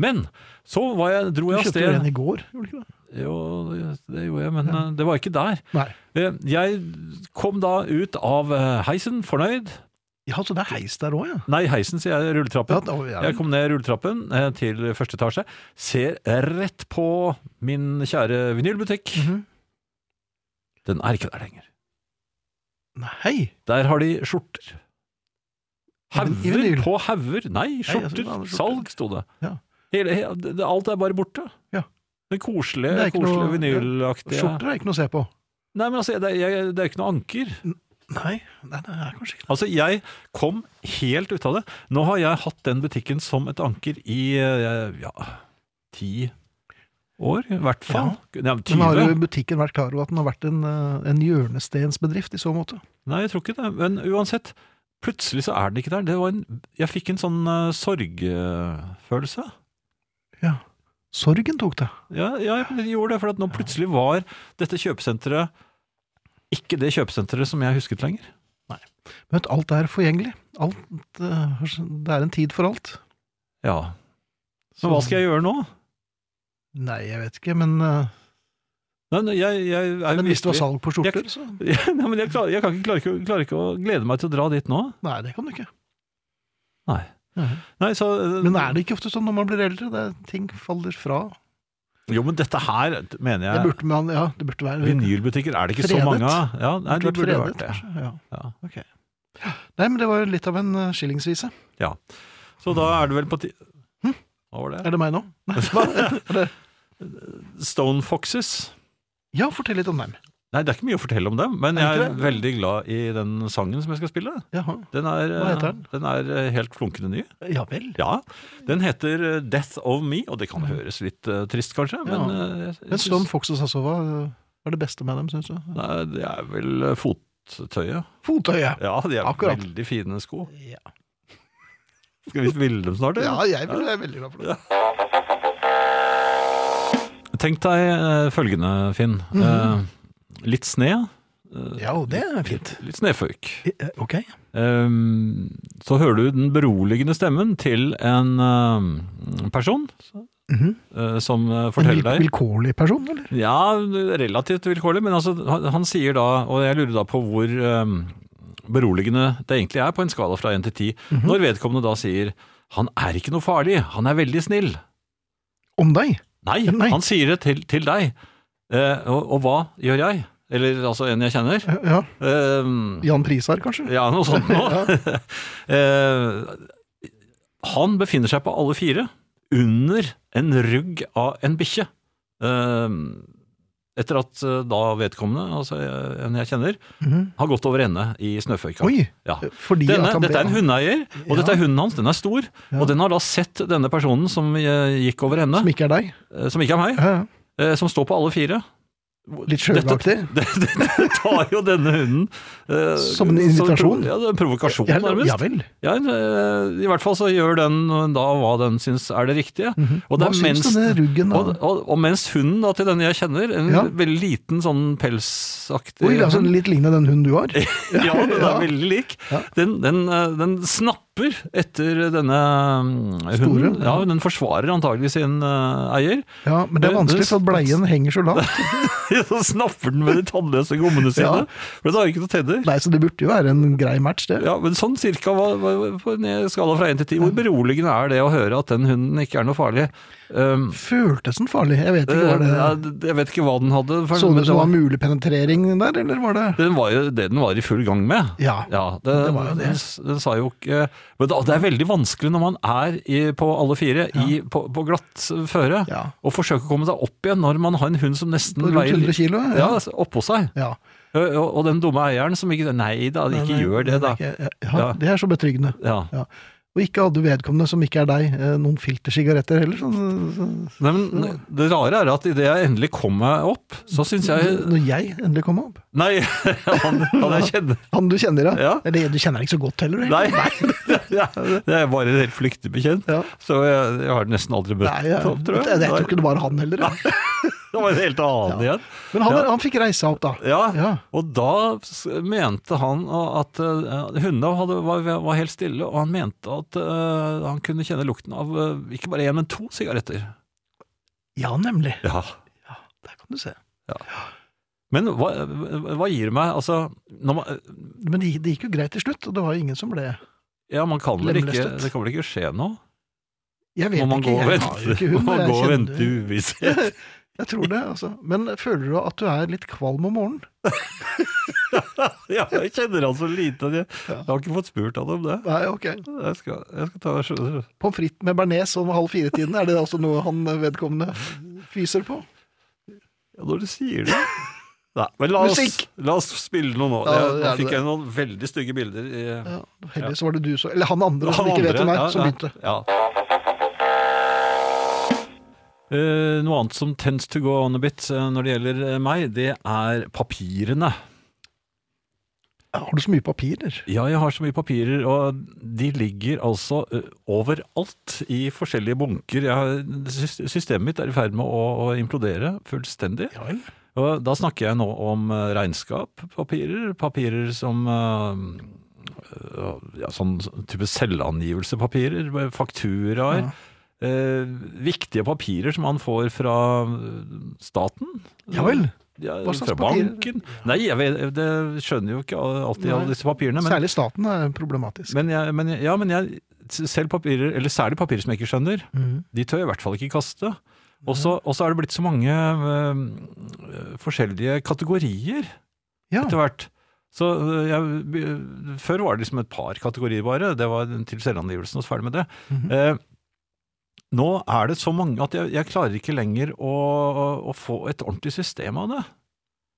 Men så var jeg, dro
Du
jeg av
kjøpte jo
sted
en i går, gjorde du ikke det?
Jo, det gjorde jeg, men eh, det var ikke der.
Nei.
Eh, Jeg kom da ut av eh, heisen, fornøyd.
Ja, så det er heis der òg, ja.
Nei, heisen, sier jeg,
ja,
rulletrappen.
da, ja.
Jeg kom ned rulletrappen eh, til første etasje, ser rett på min kjære vinylbutikk.
Mhm.
Den er ikke der lenger.
Nei!
Der har de skjorter.
I
Hauger
vinyl?
på hauger. Nei,
Nei, altså,
skjorter.
det var skjorter.
Salg, sto det.
Ja.
Hele, he- det- alt er bare borte.
Ja.
Det koselige,
Det er ikke
koselige
noe-
vinylaktige
Skjorter er ikke noe å se på.
Nei, men altså, det, er- jeg, det er ikke noe anker.
Nei, nei, det er kanskje ikke
Altså, jeg kom helt ut av det. Nå har jeg hatt den butikken som et anker i eh, ja, ti år, i hvert fall. Nei,
Men har
20.
jo butikken vært klar over at den har vært en, eh, en hjørnestensbedrift i så måte?
Nei, jeg tror ikke det. Men uansett, plutselig så er den ikke der. Det var en, jeg fikk en sånn eh, sorgfølelse.
Sorgen tok det.
Ja, ja, jeg gjorde det, for at nå plutselig var dette kjøpesenteret ikke det kjøpesenteret som jeg husket lenger.
Men vet, du, alt er forgjengelig. Alt, eh, det er en tid for alt.
Ja. Så hva skal jeg gjøre nå?
Nei, jeg vet ikke, men, eh,
Nei, nei, jeg, jeg er sånn. jo
men hvis det var
virkelig-
salg på skjorter,
Jeg-
så
Ja, nei, men jeg, klarer, jeg kan ikke, klarer, ikke, klarer ikke å glede meg til å dra dit nå.
Nei, det kan du ikke.
Nei. Nei, så,
Men er det ikke ofte sånn når man blir eldre? Det er, ting faller fra.
Jo, men dette her mener
Det
jeg
burde man, ja, det burde være
Vinylbutikker er det ikke
Fredet.
så mange av. Ja, nei, det
klart
burde
fredet,
vært det.
kanskje, Ja.
Ja.
ok. Nei, men det var jo litt av en eh, skillingsvise.
Så da er det vel på tide Hva var det?
Hm? Er det meg nå? Nei, hva?
Stone Foxes.
ja, fortell litt om dem.
Nei, det er ikke mye å fortelle om dem,
Er
men
det
jeg
ikke
er veldig glad i den sangen som jeg skal spille.
Jaha.
Den er,
Hva heter den?
den er eh, helt flunkende ny.
Ja vel.
Ja, Den heter eh, Death of Me, og det kan høres litt eh, trist kanskje, men,
Ja.
eh, jeg- jeg
Men
synes-
Stone Foxes altså, hva eh, er det beste med dem, syns du?
Nei, det er vel eh, fottøyet.
Fottøyet!
Ja, de er
Akkurat.
veldig fine sko.
Ja.
Skal vi spille dem snart? eller?
Ja, jeg vil være veldig glad for det.
Tenk deg eh, følgende, Finn.
Mhm.
Eh, litt sne. eh,
Ja, og det er fint.
Litt snøføyk.
Eh, Ok.
Ehm, så hører du den beroligende stemmen til en eh, person
Mhm.
eh, som eh,
En
forteller
vil-
deg
vilkårlig person, eller?
Ja, relativt vilkårlig, men altså, han, han sier da, og jeg lurer da på hvor ehm, beroligende det egentlig er på en skala fra 1 til 10, når vedkommende da sier 'han er ikke noe farlig, han er veldig snill'.
Om deg?
Nei,
Nei.
han sier det til, til deg. Eh, og, og hva gjør jeg? Eller altså en jeg kjenner.
Eh, Ja.
Ehm,
Jan Prisar, kanskje?
ja, noe sånt nå. Eh, han befinner seg på alle fire under en rugg av en bikkje. Eh, etter at eh, da vedkommende, altså eh, en jeg kjenner,
Mhm.
har gått over ende i snøføyka.
Oi!
Ja.
Fordi
Denne,
at han
dette er en
ble-
hundeeier, og
Ja.
dette er hunden hans. Den er stor.
Ja.
Og den har da sett denne personen som eh, gikk over ende,
Som ikke er deg?
eh, som ikke er meg,
Ja, ja.
eh, som står på alle fire.
Litt
Dette,
sjøvaktig?
dette, dette tar jo denne hunden eh,
Som en
som en
invitasjon?
provo- Ja, det er en provokasjon,
Ja,
nærmest.
Ja vel.
Ja, eh, I hvert fall så gjør den da hva den syns er det riktige. Og,
Mhm. Hva
det er
syns
mens,
denne ruggen
og,
da?
og, og mens hunden da, til denne jeg kjenner, en
Ja.
veldig liten sånn pelsaktig
Oi, altså Litt lignende den hunden du har?
hund, ja, den er
ja.
veldig lik,
Ja.
den, den, eh, den snapper etter denne mm,
Store,
hunden. Ja,
ja.
den forsvarer antagelig sin eh, eier.
Ja, Men det er
Det- det-
vanskelig, for at bleien henger så lavt.
så snapper den med de tannløse gommene
Ja.
sine, for den har ikke noen tenner.
Nei, Så det burde jo være en grei match, det.
Ja, men sånn cirka, hva- hva- på en skala fra 1 til 10, hvor beroligende er det å høre at den hunden ikke er noe farlig? Um,
Føltes den farlig? Jeg vet ikke.
Eh,
var det...
ja, d- jeg vet ikke hva den hadde. for-
Så
men
det ut som det var
var-
mulig penetrering der, eller var det
den var jo det den var i full gang med.
Ja.
Ja, det,
Det var jo det.
Den, s- den sa jo ikke Men det, det er veldig vanskelig når man er i, på alle fire i, på, på glatt føre,
Ja.
å forsøke å komme seg opp igjen når man har en hund som nesten
På rundt 100 kilo?
ja.
Ja.
altså, oppå seg.
ja.
Ø- Og, og den dumme eieren som ikke Nei da, ikke
Nei,
gjør
nei,
det, da.
ikke- Ja,
Ja.
det er så betryggende.
Ja.
Ja. Og ikke hadde vedkommende, som ikke er deg, eh, noen filtersigaretter heller. Sånn, så-
Nei, men det rare er at idet jeg endelig kom meg opp, så syns jeg
Når jeg endelig kom opp.
Nei, han, han jeg kjenner
Han du kjenner, ja.
Ja.
Eller du kjenner deg ikke så godt heller. egentlig.
Nei, det er bare helt flyktig bekjent.
Ja.
Så jeg, jeg har nesten aldri møtt
Nei, jeg,
ham,
jeg,
tror jeg.
tror
Nei,
ikke det var han heller. jeg.
Det var en helt annen
Ja.
igjen.
Men han,
Ja.
han fikk reise seg opp, da.
Ja,
Ja.
og da s- mente han at eh, hundene hadde, var, var helt stille, og han mente at eh, han kunne kjenne lukten av eh, ikke bare én, men to sigaretter.
Ja, nemlig.
Ja.
Der kan du se.
Men hva, hva gir det meg? Altså, når man,
Men det, det gikk jo greit til slutt, og det var jo ingen som ble
ja, man kan vel ikke,
Lemlestet.
det kan vel ikke skje noe?
Jeg vet
Må man
ikke,
gå og
jeg har jo
vente,
ikke hund.
må man
og jeg
gå og
kjenner-
vente i uvisshet?
Jeg tror det, altså. Men føler du at du er litt kvalm om morgenen?
Ja, jeg kjenner han så lite at jeg,
Ja.
jeg har ikke fått spurt han om det.
Nei, ok.
Jeg skal, jeg skal ta
Pommes frites med bearnés om halv fire-tiden, er det altså noe han vedkommende fyser på?
Ja, når du sier det Nei, men la oss,
Musikk!
la oss spille noe nå.
Ja,
Jeg, nå
gjerne
fikk
det.
jeg noen veldig stygge bilder. I,
Ja, Heldigvis var det du som Eller han andre som ikke vet om meg, som begynte.
Ja. Eh, noe annet som tends to go on a bit eh, når det gjelder eh, meg, det er papirene.
Har du så mye papirer?
Ja, jeg har så mye papirer, og de ligger altså eh, overalt i forskjellige bunker. Jeg, har- sys- systemet mitt er i ferd med å, å implodere fullstendig.
Ja vel.
Og da snakker jeg nå om eh, regnskappapirer, papirer som eh, eh, ja, sånn type selvangivelsepapirer, eh, fakturaer. eh, viktige papirer som man får fra eh, staten.
Ja vel.
Ja,
Hva slags
fra
papirer?
banken. Nei, jeg vet, det skjønner jo ikke alltid
Nei.
alle disse papirene. Men,
Særlig staten er problematisk.
men, jeg, men, jeg- ja, men jeg, selv papirer, eller særlig papirer som jeg ikke skjønner,
Mhm.
de tør jeg i hvert fall ikke kaste. Og så og så er det blitt så mange eh, forskjellige kategorier
Ja.
etter hvert. Så øh, jeg, be- før var det liksom et par kategorier bare, det var til selvangivelsen og så ferdig med det.
Mhm.
Eh, nå er det så mange at jeg, jeg klarer ikke lenger å, å- å få et ordentlig system av det.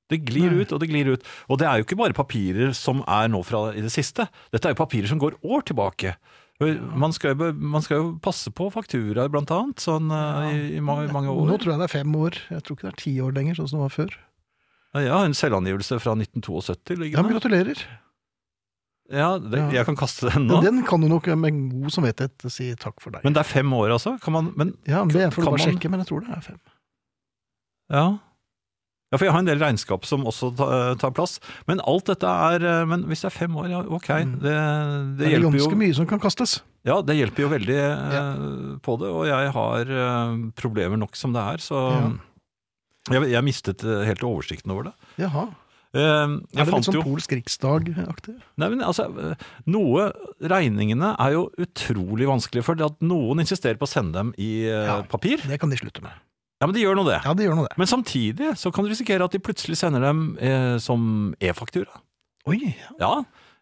Det glir
Nei.
ut og det glir ut. Og det er jo ikke bare papirer som er nå fra i det siste. Dette er jo papirer som går år tilbake. Man skal, jo be- man skal jo passe på fakturaer, blant annet, sånn eh, i, i mange, mange år.
Nå tror jeg det er fem år. Jeg tror ikke det er ti år lenger, sånn som det var før.
Ja, en selvangivelse fra 1972
Ja,
ligger
men
der.
gratulerer.
Ja, det,
Ja.
jeg kan kaste den
Ja,
nå.
den kan du nok med god samvittighet si takk for deg.
Men det er fem år, altså? Kan man men,
Ja, men Det får du
kan
bare
man-
sjekke, men jeg tror det er fem.
ja. ja, for jeg har en del regnskap som også ta, tar plass. Men alt dette er eh, Men hvis det er fem år, ja, ok.
Mm.
Det,
Det
det,
er
hjelper jo,
ganske mye som kan kastes.
ja, det hjelper jo veldig eh, på det. Og jeg har eh, problemer nok som det er, så jeg, jeg mistet eh, helt oversikten over det.
Jaha.
Eh,
Er
jeg
det litt
fant
sånn
jo
polsk riksdag-aktig?
Nei, men altså, noe Regningene er jo utrolig vanskelige, for det at noen insisterer på å sende dem i eh,
Ja.
papir.
Det kan de slutte med.
Ja, men de gjør nå det.
Ja, det gjør nå det.
Men samtidig så kan du risikere at de plutselig sender dem eh, som e-faktura.
Oi, ja.
Ja,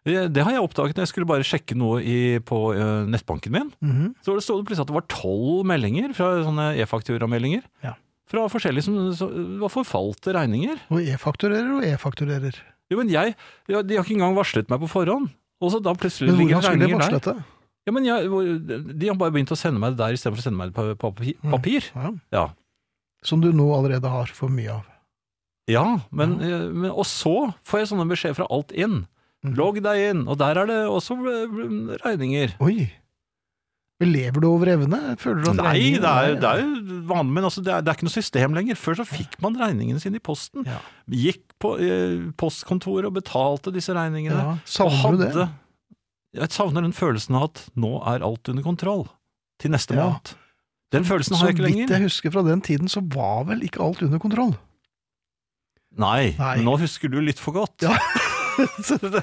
eh, det har jeg oppdaget når jeg skulle bare sjekke noe i, på eh, nettbanken min.
Mhm.
Så det stod det plutselig at det var tolv meldinger fra sånne e-fakturameldinger.
Ja.
Fra forskjellige som så, var forfalte regninger.
Og e-fakturerer og e-fakturerer.
Jo, men jeg, ja, De har ikke engang varslet meg på forhånd. Og så da plutselig
Men
ligger
hvordan skulle de
det regninger
varsle
der.
dette?
Ja, men jeg, hvor- De har bare begynt å sende meg det der istedenfor å sende meg det på, på papi-
Mm.
papir.
Ja.
Ja.
Som du nå allerede har for mye av.
Ja, men, eh, men Og så får jeg sånne beskjeder fra alt inn.
Mhm.
Logg deg inn, og der er det også eh, regninger.
Oi! Men lever du over evne? Føler du at
Nei,
regningen
det er, det er jo vanlig, men altså, det, er, det er ikke noe system lenger. Før så fikk man regningene sine i posten.
Ja.
Gikk på eh, postkontoret og betalte disse regningene.
Ja,
og
Savner du det?
Jeg savner den følelsen av at nå er alt under kontroll. Til neste
Ja.
måned. Den følelsen
Så
har jeg ikke
vidt
lenger.
jeg husker fra den tiden, så var vel ikke alt under kontroll.
Nei,
Nei.
men nå husker du litt for godt.
Ja.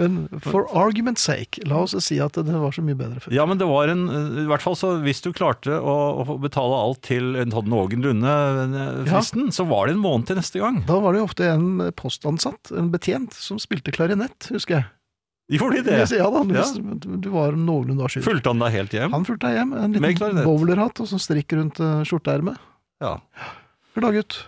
Men for argument's sake, la oss si at det var så mye bedre før.
Ja, men det var en eh, I hvert fall så hvis du klarte å, å betale alt til en sånn noenlunde eh,
Ja.
fristen, så var det en måned til neste gang.
Da var det jo ofte en postansatt, en betjent, som spilte klarinett, husker jeg.
Gjorde de
Jeg
det?
sier, Ja da,
Ja.
hvis du var noenlunde da skyldig.
Fulgte han deg helt hjem?
Han fulgte deg hjem, en
Med
liten
klarinett.
bowlerhatt og sånn strikk rundt eh, skjorteermet.
Ja.
Hør da, gutt.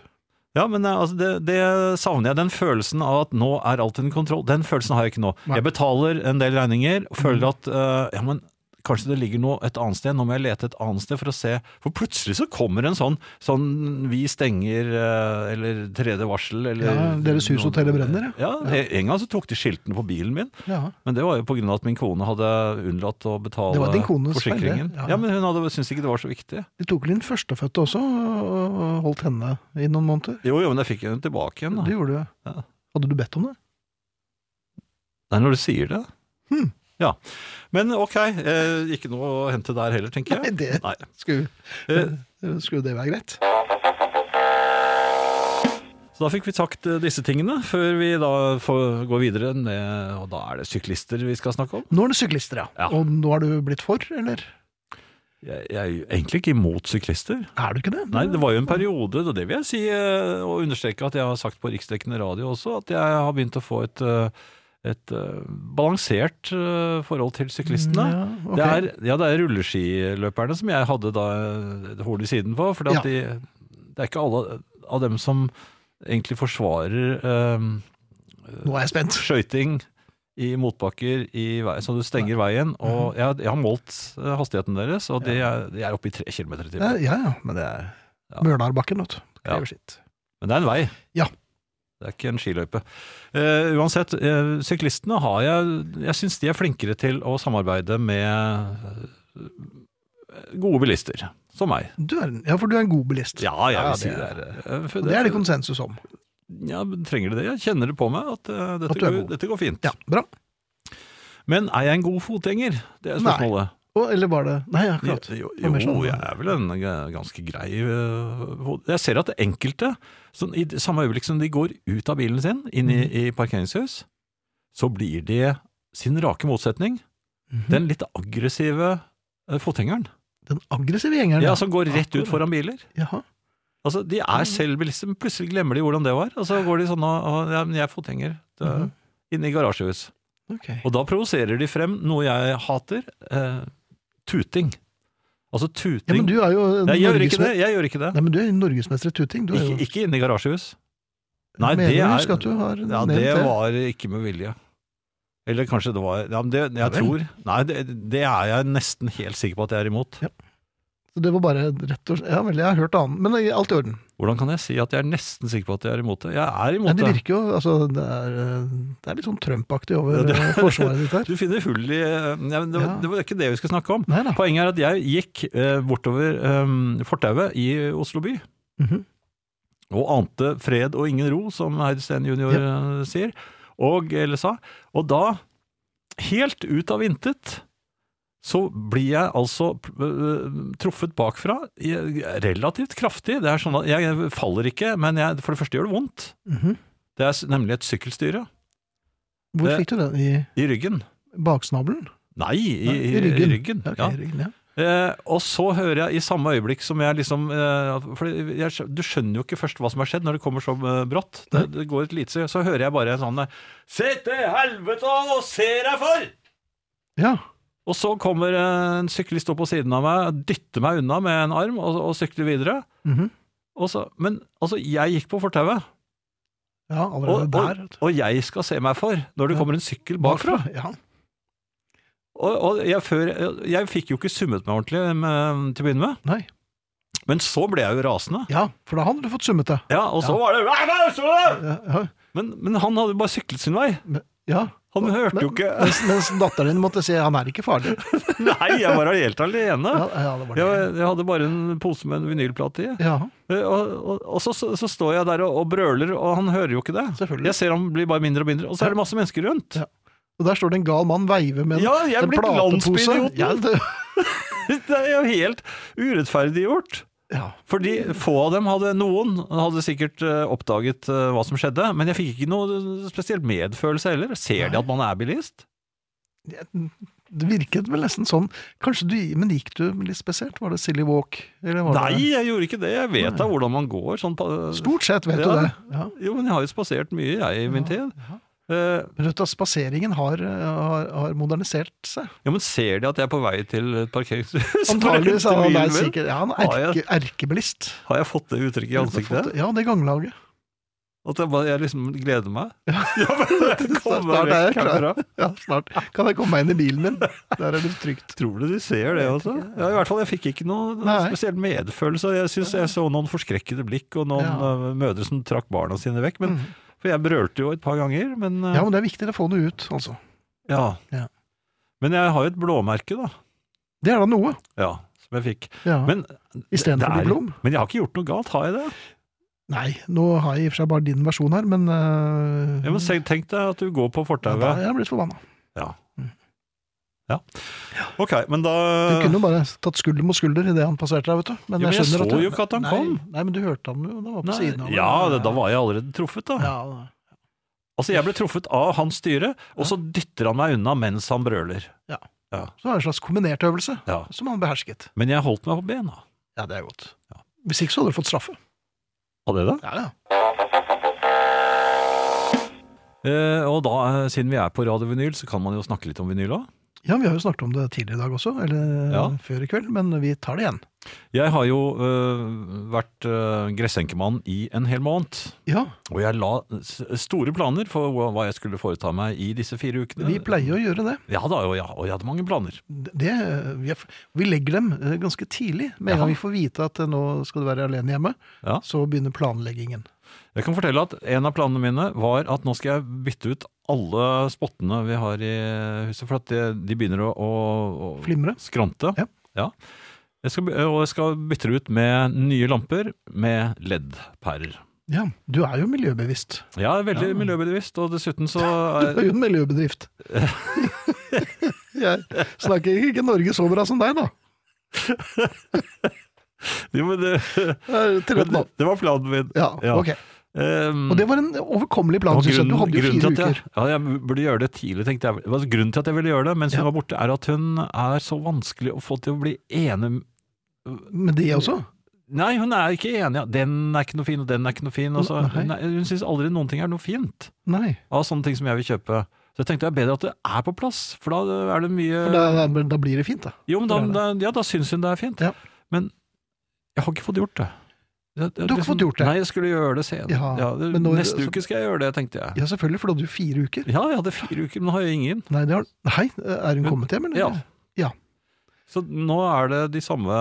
ja, men eh, altså, det, det savner jeg. Den følelsen av at nå er alt under kontroll, den følelsen har jeg ikke nå.
Nei. Mm.
Jeg betaler en del regninger og føler at eh, ja, men Kanskje det ligger noe et annet sted. Nå må jeg lete et annet sted for å se. For plutselig så kommer en sånn sånn vi stenger eh, eller tredje varsel eller
Ja, deres hus,
noen-
hotell og brenner,
Ja, En gang så tok de skiltene på bilen min.
Ja.
Men det var jo pga. at min kone hadde unnlatt å betale
Det var din kones feil, det.
forsikringen.
Ja.
Ja. men Hun hadde syntes ikke det var så viktig.
De tok vel inn førstefødte også, og og holdt henne i noen måneder.
Jo, jo, men jeg fikk henne tilbake igjen.
Det
da.
gjorde du.
Ja.
Hadde du bedt om det?
Det er når du sier det.
Hmm.
Ja. Men ok, eh, ikke noe å hente der heller, tenker
Nei,
jeg.
det
Nei.
skulle,
Eh,
skulle det være greit.
Så da fikk vi sagt eh, disse tingene, før vi da får gå videre med Og da er det syklister vi skal snakke om.
Nå er det syklister, ja.
Ja.
Og nå er du blitt for, eller?
Jeg, jeg er jo egentlig ikke imot syklister.
Er du ikke det?
Nei, det var
Mm.
jo en periode, og det vil jeg si, eh, og understreke at jeg har sagt på riksdekkende radio også, at jeg har begynt å få et, eh, et eh, balansert eh, forhold til syklistene.
Mm, Ja, ok.
Det er, ja, det er rulleskiløperne som jeg hadde da eh, et horn i siden på. For
Ja.
de, det er ikke alle av dem som egentlig forsvarer eh,
Nå er jeg spent.
skøyting i motbakker i veien, så du stenger veien.
Mhm.
Og jeg, har- jeg har målt eh, hastigheten deres, og de er, de er oppe i tre kilometer i
Ja,
timen.
ja, ja, men det er
Ja.
Mørnarbakken, vet du.
Ja.
Krever sitt.
Men det er en vei.
Ja.
Det er ikke en skiløype. Eh, uansett, eh, syklistene har jeg Jeg syns de er flinkere til å samarbeide med eh, gode bilister, som meg.
Du er, en- ja, for du er en god bilist.
Ja, jeg vil
Ja,
si
det
det
er-
er eh, for
Og Det er det konsensus om.
Ja, men trenger det det? Jeg kjenner det på meg at eh, dette,
At du er
går,
god.
dette går fint.
Ja, bra.
Men er jeg en god fotgjenger? Det er
Nei,
spørsmålet.
Og, eller var det Nei, akkurat.
jo,
var
jo,
mer sånn.
jeg er vel en g- ganske grei eh, fot- Jeg ser at det enkelte, sånn, i det samme øyeblikk som de går ut av bilen sin, inn
Mm.
i, i parkeringshus, så blir de sin rake motsetning,
Mm.
den litt aggressive eh, fotgjengeren.
Mhm. Den aggressive gjengeren.
Ja, som går rett ut foran biler.
Jaha.
Altså, De
Mm.
er selv bilister, men plutselig glemmer de hvordan det var. Og så går de sånn og, og ja, men 'Jeg er fotgjenger'. Det er-
Mhm.
Inne i garasjehus.
Ok.
Og da provoserer de frem noe jeg hater. Eh, tuting. Altså
Ja, men
tuting.
du er jo
Nei, jeg gjør ikke
norgesme-
det. jeg gjør Ikke det.
Nei, men du er norgesmester i tuting. Du er jo
Ikke, ikke inne i garasjehus. Nei,
mener
det
du,
er
husk at du har
Ja,
nevnt
det
det.
var ikke med vilje. Eller kanskje det var Ja, men det,
Ja
jeg
vel.
tror Nei, det, det er jeg nesten helt sikker på at jeg er imot.
Ja. Så det var bare rett og slett Ja vel, jeg har hørt annen, men eh, alt i orden.
Hvordan kan jeg si at jeg er nesten sikker på at jeg er imot det? Jeg er
Nei,
imot
det
det.
virker jo altså, det, er, eh, det er litt sånn Trump-aktig over
Ja, det-
eh, forsvaret ditt her.
Du finner hull i ja, men det, var-
Ja.
det var ikke det vi skulle snakke om.
Nei da.
Poenget er at jeg gikk eh, bortover eh, fortauet i Oslo by,
Mhm.
og ante fred og ingen ro, som Heidi Steen junior eh, sier, og, eller sa. Og da, helt ut av intet, så blir jeg altså eh, truffet bakfra eh, relativt kraftig. Det er sånn at jeg faller ikke, men jeg, for det første gjør det vondt.
Mhm.
Det er s- nemlig et sykkelstyre
Hvor
Det-
fikk du den? I
i ryggen.
baksnabelen?
Nei, i,
Nei,
i, i ryggen.
Ja, ok,
ja.
i ryggen, ja.
Eh, og så hører jeg i samme øyeblikk som jeg liksom eh, For jeg, skjø- du skjønner jo ikke først hva som har skjedd når det kommer så eh, brått. Det, det går et lite sekund, Så hører jeg bare en sånn eh, Se til helvete og nå ser jeg for!
ja.
Og så kommer eh, en syklist opp på siden av meg, dytter meg unna med en arm og, og sykler videre.
Mhm.
Og så, men altså, jeg gikk på fortauet,
ja, allerede
og,
der.
og,
vet du.
og jeg skal se meg for når det
Ja.
kommer en sykkel bakfra.
Ja.
Og, og jeg, før, jeg fikk jo ikke summet meg ordentlig eh, til å begynne med,
Nei.
men så ble jeg jo rasende.
ja, for da hadde du fått summet det.
Ja, og så
Ja.
var det «Hva er det som er?»
Ja, ja.
men, men han hadde bare syklet sin vei.
ja.
Han hørte jo ikke
Mens, mens datteren din måtte si 'han er ikke farlig'.
Nei, jeg var helt alene.
Ja, ja det var det.
Jeg, jeg hadde bare en pose med en vinylplate i. Eh,
Ja,
Og, og, og så, så, så står jeg der og, og brøler, og han hører jo ikke det.
selvfølgelig.
Jeg ser han blir bare mindre og mindre, og så er det masse mennesker rundt.
Ja. Og der står det en gal mann veive med en,
Ja, jeg er
en
blitt
platepose.
landsbyidioten.
Ja, det,
Det er jo helt urettferdiggjort.
ja.
Fordi få av dem hadde Noen hadde sikkert eh, oppdaget eh, hva som skjedde, men jeg fikk ikke noe spesielt medfølelse heller. Ser de at man er bilist?
Det virket vel nesten sånn. Kanskje du, Men gikk du litt spesielt? Var det Silly Walk? Eller var
Nei,
det,
jeg gjorde ikke det. Jeg vet da hvordan man går. Sånn på,
Stort sett, vet
Ja.
du det. Ja.
Jo, men jeg har jo spasert mye, jeg, i min tid. Eh,
Men vet du, at Spaseringen har, har, har modernisert seg.
ja, men ser de at jeg er på vei til et parkeringshus?
Antageligvis er han
Bilen
der
min?
sikkert ja, han er
Har jeg-
erke, erkebilist.
Har jeg fått det uttrykket i
Har du fått
ansiktet?
det? Ja, det ganglaget.
At jeg, bare, jeg liksom gleder meg. Ja, men det
Snart
kommer
er jeg
vekk herfra.
klar. Ja, snart kan jeg komme meg inn i bilen min. Der er det trygt.
Tror du de ser det også? Ja, i hvert fall, Jeg fikk ikke noe
Nei.
spesiell medfølelse. Jeg synes jeg så noen forskrekkede blikk, og noen
Ja. Mm.
eh, mødre som trakk barna sine vekk. Men, For jeg brølte jo et par ganger, men eh,
Ja, men det er viktig å få det ut, altså.
ja.
Ja.
Men jeg har jo et blåmerke, da.
Det er da noe.
Ja, som jeg fikk.
Ja.
Men, det
Istedenfor
er-
diplom.
men jeg har ikke gjort noe galt, har jeg det?
Nei, nå har jeg i og for seg bare din versjon her, men øh,
Ja, men se- Tenk deg at du går på
ja, da
fortauet.
er jeg blitt forbanna.
Ja. ja. Ok, men da
Du kunne jo bare tatt skulder mot skulder idet han passerte deg, vet du.
Ja, men jeg
skjønner
så jo ikke at han
nei,
kom.
Nei, men du hørte han jo, han var på
Nei,
siden av
Ja, det, da var jeg allerede truffet, da.
ja,
Altså, jeg ble truffet av hans styre, og så dytter han meg unna mens han brøler.
Så det var en slags kombinert øvelse
Ja.
som han behersket.
Men jeg holdt meg på bena.
Ja, det er godt. Hvis ikke så hadde du fått straffe.
Hadde jeg det?
Ja, ja.
Eh, og da, eh, siden vi er på Radio Vinyl, så kan man jo snakke litt om vinyl òg.
Ja, vi har jo snakket om det tidligere i dag også, eller
Ja.
før i kveld, men vi tar det igjen.
Jeg har jo eh, vært eh, gressenkemann i en hel måned.
Ja,
Og jeg la s- store planer for hva hva jeg skulle foreta meg i disse fire ukene.
vi pleier å gjøre det.
Ja da, og jeg, og jeg hadde mange planer.
det vi, er, vi legger dem eh, ganske tidlig. Med en
Jaha.
gang vi får vite at eh, nå skal du være alene hjemme,
Ja.
så begynner planleggingen.
Jeg kan fortelle at en av planene mine var at nå skal jeg bytte ut alle spottene vi har i huset, for at de, de begynner å, å, å
Flimre.
skrante.
Ja.
Ja. Jeg skal, by- og jeg skal bytte det ut med nye lamper med LED-pærer.
Ja, du er jo miljøbevisst.
Jeg er veldig miljøbevisst, og dessuten så
Du
er,
er jo en miljøbedrift. Jeg snakker ikke Norge så bra som deg, da.
jo, men det,
Det er til rett nå.
det var planen min.
Ja,
Ja.
ok.
Ehm,
Og det var en overkommelig plan,
Og
synes jeg. Du hadde jo
grunnen
fire
til at
uker.
jeg, ja, jeg burde gjøre det tidlig, tenkte jeg. Altså, grunnen til at jeg ville gjøre det mens
Ja.
hun var borte, er at hun er så vanskelig å få til å bli enig
Men det også?
Nei, hun er ikke enig. Den er ikke noe fin, og den er ikke noe fin. og så-
Nei.
hun er- hun syns aldri noen ting er noe fint
Nei.
av sånne ting som jeg vil kjøpe. Så jeg tenkte det er bedre at det er på plass, for da er det
For
mye
da, da blir det fint, da.
Jo, men da,
det er det.
da, ja, da syns hun det er fint.
Ja.
Men jeg har ikke fått gjort det. Jeg- jeg
Du har ikke fått gjort det?
Nei, jeg skulle gjøre det senere.
Ja,
Ja, det-
men nå-
neste uke skal jeg gjøre det, tenkte jeg.
Ja, selvfølgelig, for da hadde du fire uker.
Ja, jeg hadde fire uker, men nå har jeg ingen.
Nei, det har, nei, er hun kommet hjem, eller?
Ja. Så nå er det de samme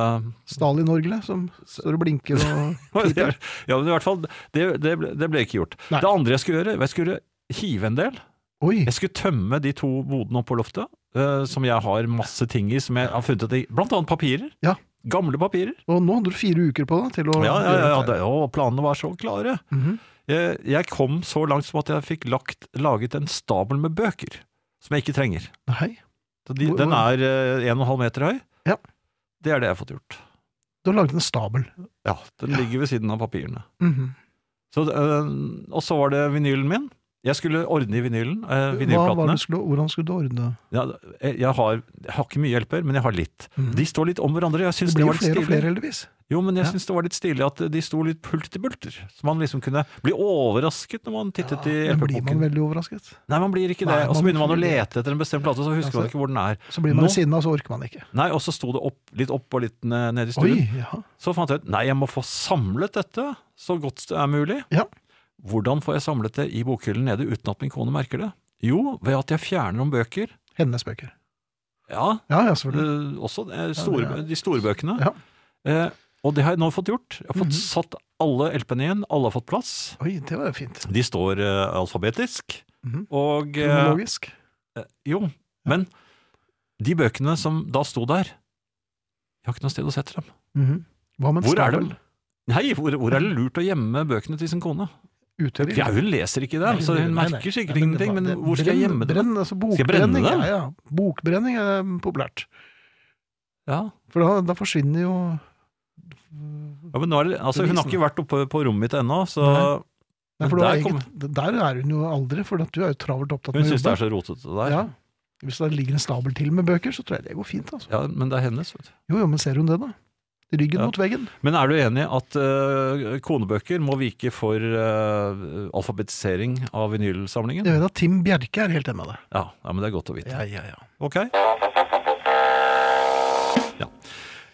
Stalin-orgelet som står og blinker og
Ja, men i hvert fall, det, det, ble, det ble ikke gjort.
Nei.
Det andre jeg skulle gjøre, jeg skulle hive en del.
Oi!
Jeg skulle tømme de to bodene oppe på loftet, eh, som jeg har masse ting i, som jeg har funnet ut i. Blant annet papirer.
Ja.
Gamle papirer.
Og nå hadde du fire uker på deg til å
Ja, ja, ja,
gjøre
ja,
dette.
det, og planene var så klare.
Mhm.
Jeg, jeg kom så langt som at jeg fikk lagt, laget en stabel med bøker, som jeg ikke trenger.
Nei.
Så de,
Hvor-
den er eh, en og en halv meter høy.
Ja.
Det er det jeg har fått gjort.
Du har laget en stabel.
Ja, den ligger ved siden av papirene.
Mhm.
Så, øh, og så var det vinylen min. Jeg skulle ordne i vinylen. Øh,
Hva var
vinylplatene.
det du skulle, hvordan skulle du ordne
Ja, eh, jeg, jeg, har, jeg har ikke mye hjelper, men jeg har litt.
Mhm.
De står litt om hverandre. Jeg
det?
syns det,
blir jo
var litt
flere og
stilig.
flere, heldigvis.
Jo, men jeg
Ja.
synes det var litt stilig at de sto litt pult til bulter. Så man liksom kunne bli overrasket når man tittet i
men blir man
LP-boken.
veldig overrasket?
Nei, man blir ikke det.
Nei,
Og så
man
begynner man å
blir Altså- det.
lete etter en bestemt plate, og så husker
Ja, så-
man ikke hvor den er.
Så blir man
Nå-
sinna, så orker man ikke.
Nei, og så sto det opp, litt opp og litt ned ned
Oi,
i stuen.
ja.
Så fant jeg ut nei, jeg må få samlet dette så godt det er mulig.
Ja.
Hvordan får jeg samlet det i bokhyllen nede uten at min kone merker det? Jo, ved at jeg fjerner om bøker.
Hennes bøker.
Ja,
Ja, ja, selvfølgelig.
eh, også eh, store,
Mhm. Ja, ja.
de store bøkene.
Ja.
Eh, og det har jeg nå fått gjort. Jeg har fått
Mhm.
satt alle LP-ene igjen. Alle har fått plass.
Oi, det var jo fint.
De står eh, alfabetisk.
Mhm.
Og eh,
Kronologisk.
Jo, men de bøkene som da sto der Jeg har ikke noe sted å sette dem.
Mhm. Hva med en
Hvor er
stabel?
det? Nei, hvor, hvor er det lurt å gjemme bøkene til sin kone?
Ute i-
For ja, hun leser ikke det, så hun
Nei, nei, nei.
merker sikkert
Nei, men
ingenting.
det-
Men
det-
hvor skal jeg
brenn-
gjemme det?
Brenn, altså
jeg brenne
bokbrenning,
det?
ja, ja. Bokbrenning er um, populært.
Ja.
For da, da forsvinner jo
Ja, men nå er det, altså, hun har ikke vært oppe på rommet mitt ennå, så
Nei. Nei,
Men
for der,
der kom-
der er hun jo aldri, for at du er jo travelt opptatt
hun
med å
syns det
jobbe.
er så rotete der.
Ja. Hvis det ligger en stabel til med bøker, så tror jeg det går fint. altså.
Ja, men det er hennes. Vet du.
Jo, jo, men ser hun det, da? Ryggen
Ja.
mot veggen.
Men er du enig at eh, konebøker må vike for eh, alfabetisering av vinylsamlingen?
Jeg vet at Tim Bjerke er helt enig med deg.
Ja, ja, men det er godt å vite.
Ja, ja, ja.
Ok. Ja.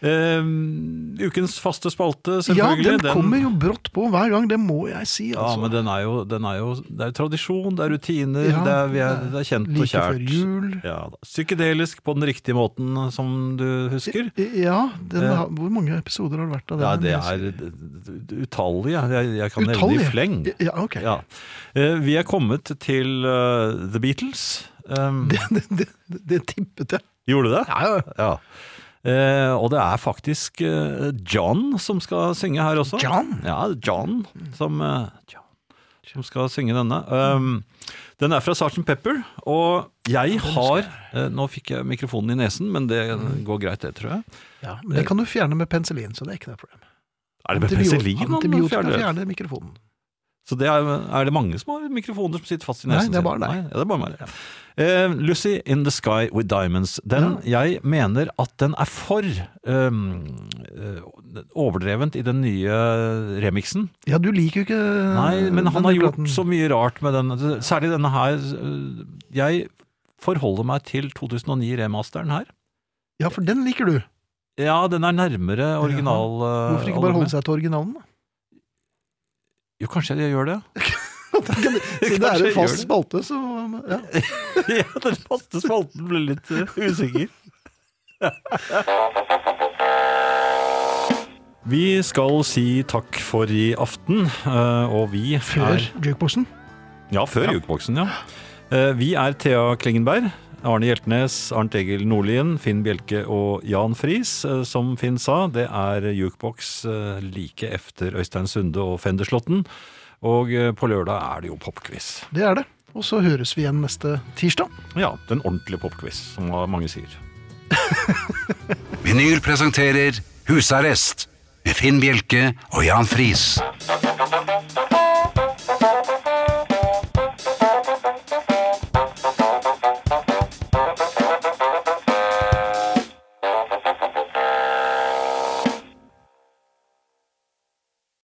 Ehm, ukens faste spalte,
Ja,
selvfølgelig.
den kommer jo brått på hver gang, det må jeg si.
Ja,
Altså.
men den er jo, den er jo Det er jo tradisjon, det er rutiner,
Ja,
det, er, vi er, det er kjent og
like
kjært.
før jul.
Ja, da. Psykedelisk på den riktige måten, som du husker.
Ja, den,
Eh.
har- Hvor mange episoder har det vært av den?
Ja, det er utallige. Jeg, jeg kan nevne
Utallige?
i fleng.
Ja, ok.
Ja. Eh, Vi er kommet til eh, The Beatles. Um,
Det, det, det, det tippet jeg.
Gjorde du det?
Ja, ja.
Ja. Eh, og det er faktisk eh, John som skal synge her også.
John?
Ja, John som, eh, John, som skal synge denne. Um, den er fra Sgt. Pepper, og jeg har eh, Nå fikk jeg mikrofonen i nesen, men det
Mm.
går greit, det, tror jeg.
Ja, men det kan du fjerne med penicillin, så det er ikke noe problem.
Er det med penicillin man
Antibiotika
fjerner?
fjerner mikrofonen.
Så det er, er det mange som har mikrofoner som sitter fast i nesen?
Nei, det er
sin?
bare deg.
Nei, ja, det er bare meg. Eh, Lucy in the Sky with Diamonds. Den, Jeg mener at den er for ehm, eh, overdrevent i den nye remixen.
Ja, du liker jo ikke
Nei, men han har gjort
platen.
så mye rart med den. Særlig denne her. eh, Jeg forholder meg til 2009-remasteren her.
Ja, for den liker du.
Ja, den er nærmere original. eh,
Hvorfor ikke bare
albumet.
holde seg til originalen? da?
Jo, kanskje jeg gjør det.
Siden det er
Kanskje
en fast
gjør
spalte, så ja.
ja, den faste spalten ble litt eh, usikker. Vi skal si takk for i aften, eh, og vi
Før
er
jukeboksen.
Ja, før jukeboksen, ja. Eh, Vi er Thea Klingenberg, Arne Hjeltnes, Arnt Egil Nordlien, Finn Bjelke og Jan Friis. Eh, Som Finn sa, det er jukeboks eh, like efter Øystein Sunde og Fenderslotten. Og eh, på lørdag er det jo popquiz.
Det er det. Og så høres vi igjen neste tirsdag.
Ja, den ordentlige popquiz, som mange sier.
Vinyl presenterer Husarrest med Finn Bjelke og Jan Friis.